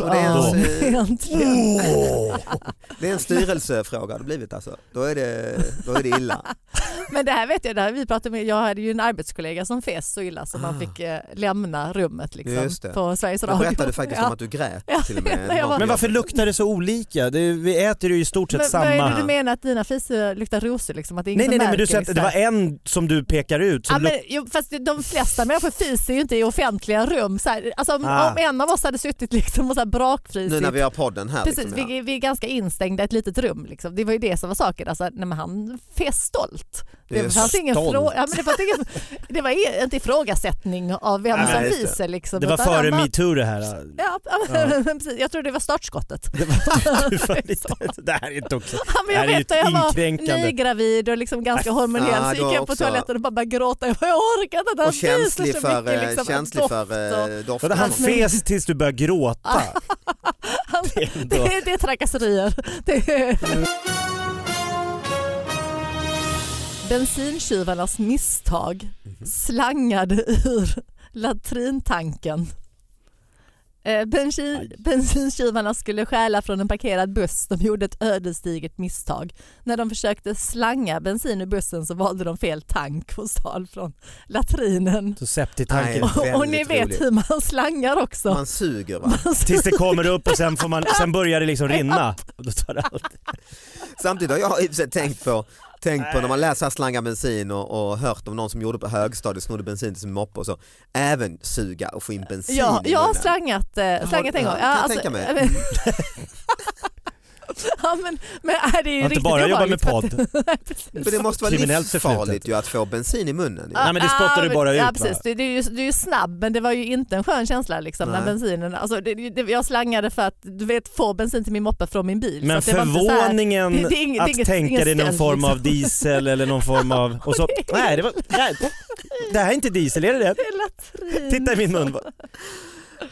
[SPEAKER 2] Och det, är
[SPEAKER 4] Ja.
[SPEAKER 3] alltså
[SPEAKER 2] en, eh,
[SPEAKER 3] Egentligen.
[SPEAKER 2] det är en styrelsefråga har det blivit alltså. Då är det, då är det illa.
[SPEAKER 3] Men det här vet jag, det här vi pratade med, jag hade ju en arbetskollega som fes så illa så
[SPEAKER 2] Ah.
[SPEAKER 3] man fick eh, lämna rummet
[SPEAKER 2] Just
[SPEAKER 3] liksom,
[SPEAKER 2] det.
[SPEAKER 3] på Sveriges
[SPEAKER 2] Då
[SPEAKER 3] Radio.
[SPEAKER 2] berättade du faktiskt
[SPEAKER 3] Ja.
[SPEAKER 2] om att du grät
[SPEAKER 3] Ja,
[SPEAKER 2] till och med.
[SPEAKER 3] nej, jag var-
[SPEAKER 4] men varför luktar det så olika? Det, vi äter ju i stort sett
[SPEAKER 3] men,
[SPEAKER 4] samma.
[SPEAKER 3] Vad är det du menar att dina fisar luktar rosor? Liksom, att det är ingen
[SPEAKER 4] Nej nej
[SPEAKER 3] som
[SPEAKER 4] nej men du
[SPEAKER 3] märker,
[SPEAKER 4] sa att det var en som du pekar ut som
[SPEAKER 3] Ja, men, jo, fast de flesta människor fiser ju inte i offentliga rum. Så här, alltså, om,
[SPEAKER 4] Ah.
[SPEAKER 3] om en av oss hade suttit liksom och så här brakfrisit.
[SPEAKER 2] Nu när vi har podden här.
[SPEAKER 3] Precis,
[SPEAKER 2] liksom, ja.
[SPEAKER 3] vi, vi är ganska instängda i ett litet rum. Liksom. Det var ju det som var saken. Alltså, nej, men han fes stolt.
[SPEAKER 2] Det är
[SPEAKER 3] Det, fanns ingen
[SPEAKER 4] stolt.
[SPEAKER 3] frå- ja, men det, fanns ingen, det var i- inte ifrågasättning av vem
[SPEAKER 2] Nej,
[SPEAKER 3] som
[SPEAKER 2] just det.
[SPEAKER 3] fiser. Liksom,
[SPEAKER 4] Det var
[SPEAKER 3] utan han
[SPEAKER 4] före
[SPEAKER 3] bara-
[SPEAKER 4] metoo det här.
[SPEAKER 3] Ja,
[SPEAKER 4] Ja.
[SPEAKER 3] precis. Jag tror det var startskottet.
[SPEAKER 4] Det, var, det, var
[SPEAKER 3] Det är så.
[SPEAKER 4] lite, det här är inte okej.
[SPEAKER 3] Ja, men
[SPEAKER 4] Det här
[SPEAKER 3] jag
[SPEAKER 4] är ju
[SPEAKER 3] vet när jag var
[SPEAKER 4] inkränkande.
[SPEAKER 3] nygravid och liksom ganska hormonell
[SPEAKER 2] ah,
[SPEAKER 3] så
[SPEAKER 2] då
[SPEAKER 3] gick jag på
[SPEAKER 2] också.
[SPEAKER 3] toaletten och bara började gråta. Jag bara, jag orkar inte. att han
[SPEAKER 2] Och
[SPEAKER 3] fiser
[SPEAKER 2] känslig
[SPEAKER 3] så
[SPEAKER 2] för,
[SPEAKER 3] mycket,
[SPEAKER 2] eh,
[SPEAKER 3] liksom.
[SPEAKER 2] känslig
[SPEAKER 3] Doft
[SPEAKER 2] för eh,
[SPEAKER 4] Vadå, han
[SPEAKER 2] doften.
[SPEAKER 4] fes tills du började gråta?
[SPEAKER 3] Han-
[SPEAKER 4] Det är ändå-
[SPEAKER 3] Det, det är trakasserier. Det är... Bensintjuvarnas
[SPEAKER 2] Mhm.
[SPEAKER 3] misstag slangade ur latrintanken. Eh, Bensin, bensintjuvarna skulle stjäla från en parkerad buss. De gjorde ett ödesdigert misstag. När de försökte slanga bensin ur bussen så valde de fel tank och stal från latrinen.
[SPEAKER 4] Så septitanken.
[SPEAKER 2] Nej.
[SPEAKER 3] Och, och ni
[SPEAKER 2] Väldigt
[SPEAKER 3] vet
[SPEAKER 2] roligt.
[SPEAKER 3] hur man slangar också.
[SPEAKER 2] Man suger va?
[SPEAKER 4] Tills det kommer upp och sen, får man, sen börjar det liksom rinna. Och då tar det allt.
[SPEAKER 2] Samtidigt har jag i och för sig tänkt på, tänkt på när man läser här slanga bensin och, och hört om någon som gjorde på högstadiet snodde bensin till sin moppe och så. Även suga och få in bensin
[SPEAKER 3] Ja,
[SPEAKER 2] i
[SPEAKER 3] jag har
[SPEAKER 2] munnen.
[SPEAKER 3] slangat, eh, slangat en
[SPEAKER 2] ja,
[SPEAKER 3] gång.
[SPEAKER 2] kan jag tänka mig.
[SPEAKER 3] men- ja, men, men äh, det är ju
[SPEAKER 4] Jag har inte
[SPEAKER 3] riktigt
[SPEAKER 4] bara jobbat med
[SPEAKER 3] obehagligt för
[SPEAKER 4] podd.
[SPEAKER 2] Men det måste vara
[SPEAKER 4] Kriminellt
[SPEAKER 2] livsfarligt
[SPEAKER 4] förflutet.
[SPEAKER 2] ju att få bensin i munnen. ju.
[SPEAKER 4] Nej, men det spottar du
[SPEAKER 3] men-
[SPEAKER 4] bara ut,
[SPEAKER 3] Ja,
[SPEAKER 4] va?
[SPEAKER 3] precis. Du, du, är ju, du är ju snabb men det var ju inte en skön känsla liksom, när
[SPEAKER 2] Nej.
[SPEAKER 3] bensinen, alltså, det, det, jag slangade för att du vet, få bensin till min moppe från min bil.
[SPEAKER 4] Men
[SPEAKER 3] så att det var inte så här-
[SPEAKER 4] förvåningen
[SPEAKER 3] det- det är inget-
[SPEAKER 4] att
[SPEAKER 3] det är inget-
[SPEAKER 4] tänka
[SPEAKER 3] ingen
[SPEAKER 4] det är någon
[SPEAKER 3] stöld,
[SPEAKER 4] form
[SPEAKER 3] liksom.
[SPEAKER 4] av diesel eller någon form av... Och så, nej, det, var, nej, det här är inte diesel, är det det?
[SPEAKER 3] Det är latrin.
[SPEAKER 4] Titta i min mun.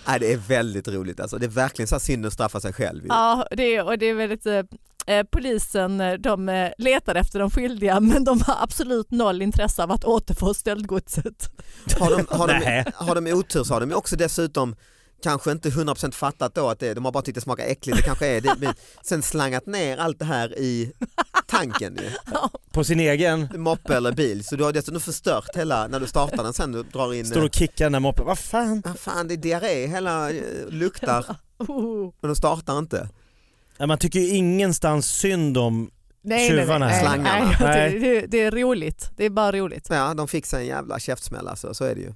[SPEAKER 2] Nej, det är väldigt roligt alltså. Det är verkligen så här synd att straffa sig själv. Ju.
[SPEAKER 3] Ja, det är, och det är väldigt, eh, eh, polisen eh, de eh, letar efter de skyldiga men de har absolut noll intresse av att återfå stöldgodset.
[SPEAKER 2] Har, de, har, de,
[SPEAKER 4] Nej.
[SPEAKER 2] har de otur så har de ju också dessutom kanske inte 100% fattat då att det, de har bara tyckt det smakar äckligt, det kanske är det, men sen slangat ner allt det här i tanken ju.
[SPEAKER 4] På sin egen.
[SPEAKER 2] moppe eller bil så du har dessutom förstört hela, när du startar den sen du drar in,
[SPEAKER 4] Står och kickar den där moppen. Vad fan?
[SPEAKER 2] ah, fan det är diarré, hela eh, luktar
[SPEAKER 3] Oh.
[SPEAKER 2] men de startar inte.
[SPEAKER 4] Ja, man tycker ju ingenstans synd om...
[SPEAKER 3] Nej,
[SPEAKER 4] Tjuvarna.
[SPEAKER 3] nej, nej,
[SPEAKER 2] Slangarna.
[SPEAKER 3] nej, nej.
[SPEAKER 4] Nej.
[SPEAKER 3] Det, det, det är roligt, det är bara roligt.
[SPEAKER 2] Ja, de fick sig en jävla käftsmäll alltså, så är det ju.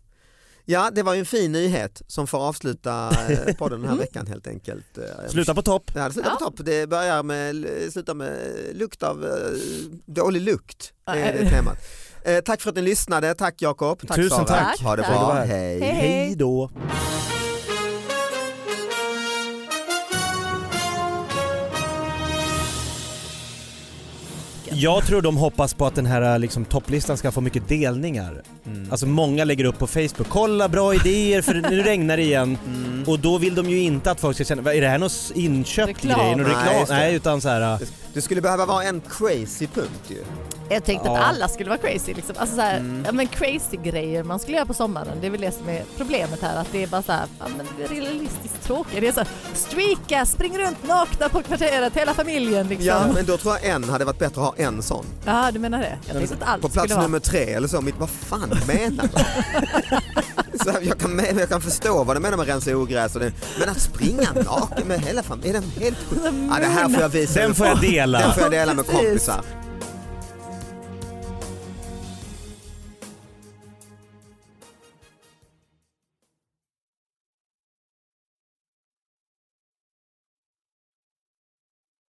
[SPEAKER 2] Ja, det var ju en fin nyhet som får avsluta eh, podden den här veckan helt enkelt. Eh,
[SPEAKER 4] Mm. Sluta på topp.
[SPEAKER 2] Ja, det slutar på topp. Det börjar med, slutar med lukt av eh, dålig lukt. Det är det temat. Eh, Tack för att ni lyssnade. Tack Jakob. Tack
[SPEAKER 4] Tusen
[SPEAKER 2] Sara.
[SPEAKER 4] tack.
[SPEAKER 2] Ha det
[SPEAKER 3] Tack.
[SPEAKER 2] bra.
[SPEAKER 4] Tack.
[SPEAKER 2] Hej.
[SPEAKER 3] Hej.
[SPEAKER 4] Hej då. Jag tror de hoppas på att den här liksom, topplistan ska få mycket delningar. Alltså många lägger upp på Facebook, kolla bra idéer för nu regnar det igen.
[SPEAKER 2] Mm.
[SPEAKER 4] Och då vill de ju inte att folk ska känna, "Va, är det här något inköpt
[SPEAKER 3] Reklam.
[SPEAKER 4] grej? Någon
[SPEAKER 2] Nej,
[SPEAKER 4] reklam? Nej,
[SPEAKER 2] just det.
[SPEAKER 4] utan så här.
[SPEAKER 2] Det skulle behöva vara en crazy punkt ju.
[SPEAKER 3] Jag tänkte
[SPEAKER 4] Ja.
[SPEAKER 3] att alla skulle vara crazy. Liksom. Alltså, så här,
[SPEAKER 2] Mm.
[SPEAKER 3] ja, men crazy grejer man skulle göra på sommaren. Det är väl det som är problemet här. Att det är bara så här, ja, men det är realistiskt tråkigt. Det är så här, streaka, spring runt nakna på kvarteret, hela familjen. Liksom.
[SPEAKER 2] Ja,
[SPEAKER 3] Ja.
[SPEAKER 2] men då tror jag en hade varit bättre att ha en sån.
[SPEAKER 3] du menar det? Jag tänkte att allt
[SPEAKER 2] På plats
[SPEAKER 3] skulle vara...
[SPEAKER 2] nummer tre eller så. Mitt, vad fan menar du? Så jag, kan, me- jag kan förstå vad du menar med rensa ogräs och det, men att springa naken med hela familjen, är den helt sjuk? ja, det här får jag visa.
[SPEAKER 4] Den får jag dela.
[SPEAKER 2] Den får jag dela med
[SPEAKER 3] Alltså, Precis.
[SPEAKER 2] kompisar.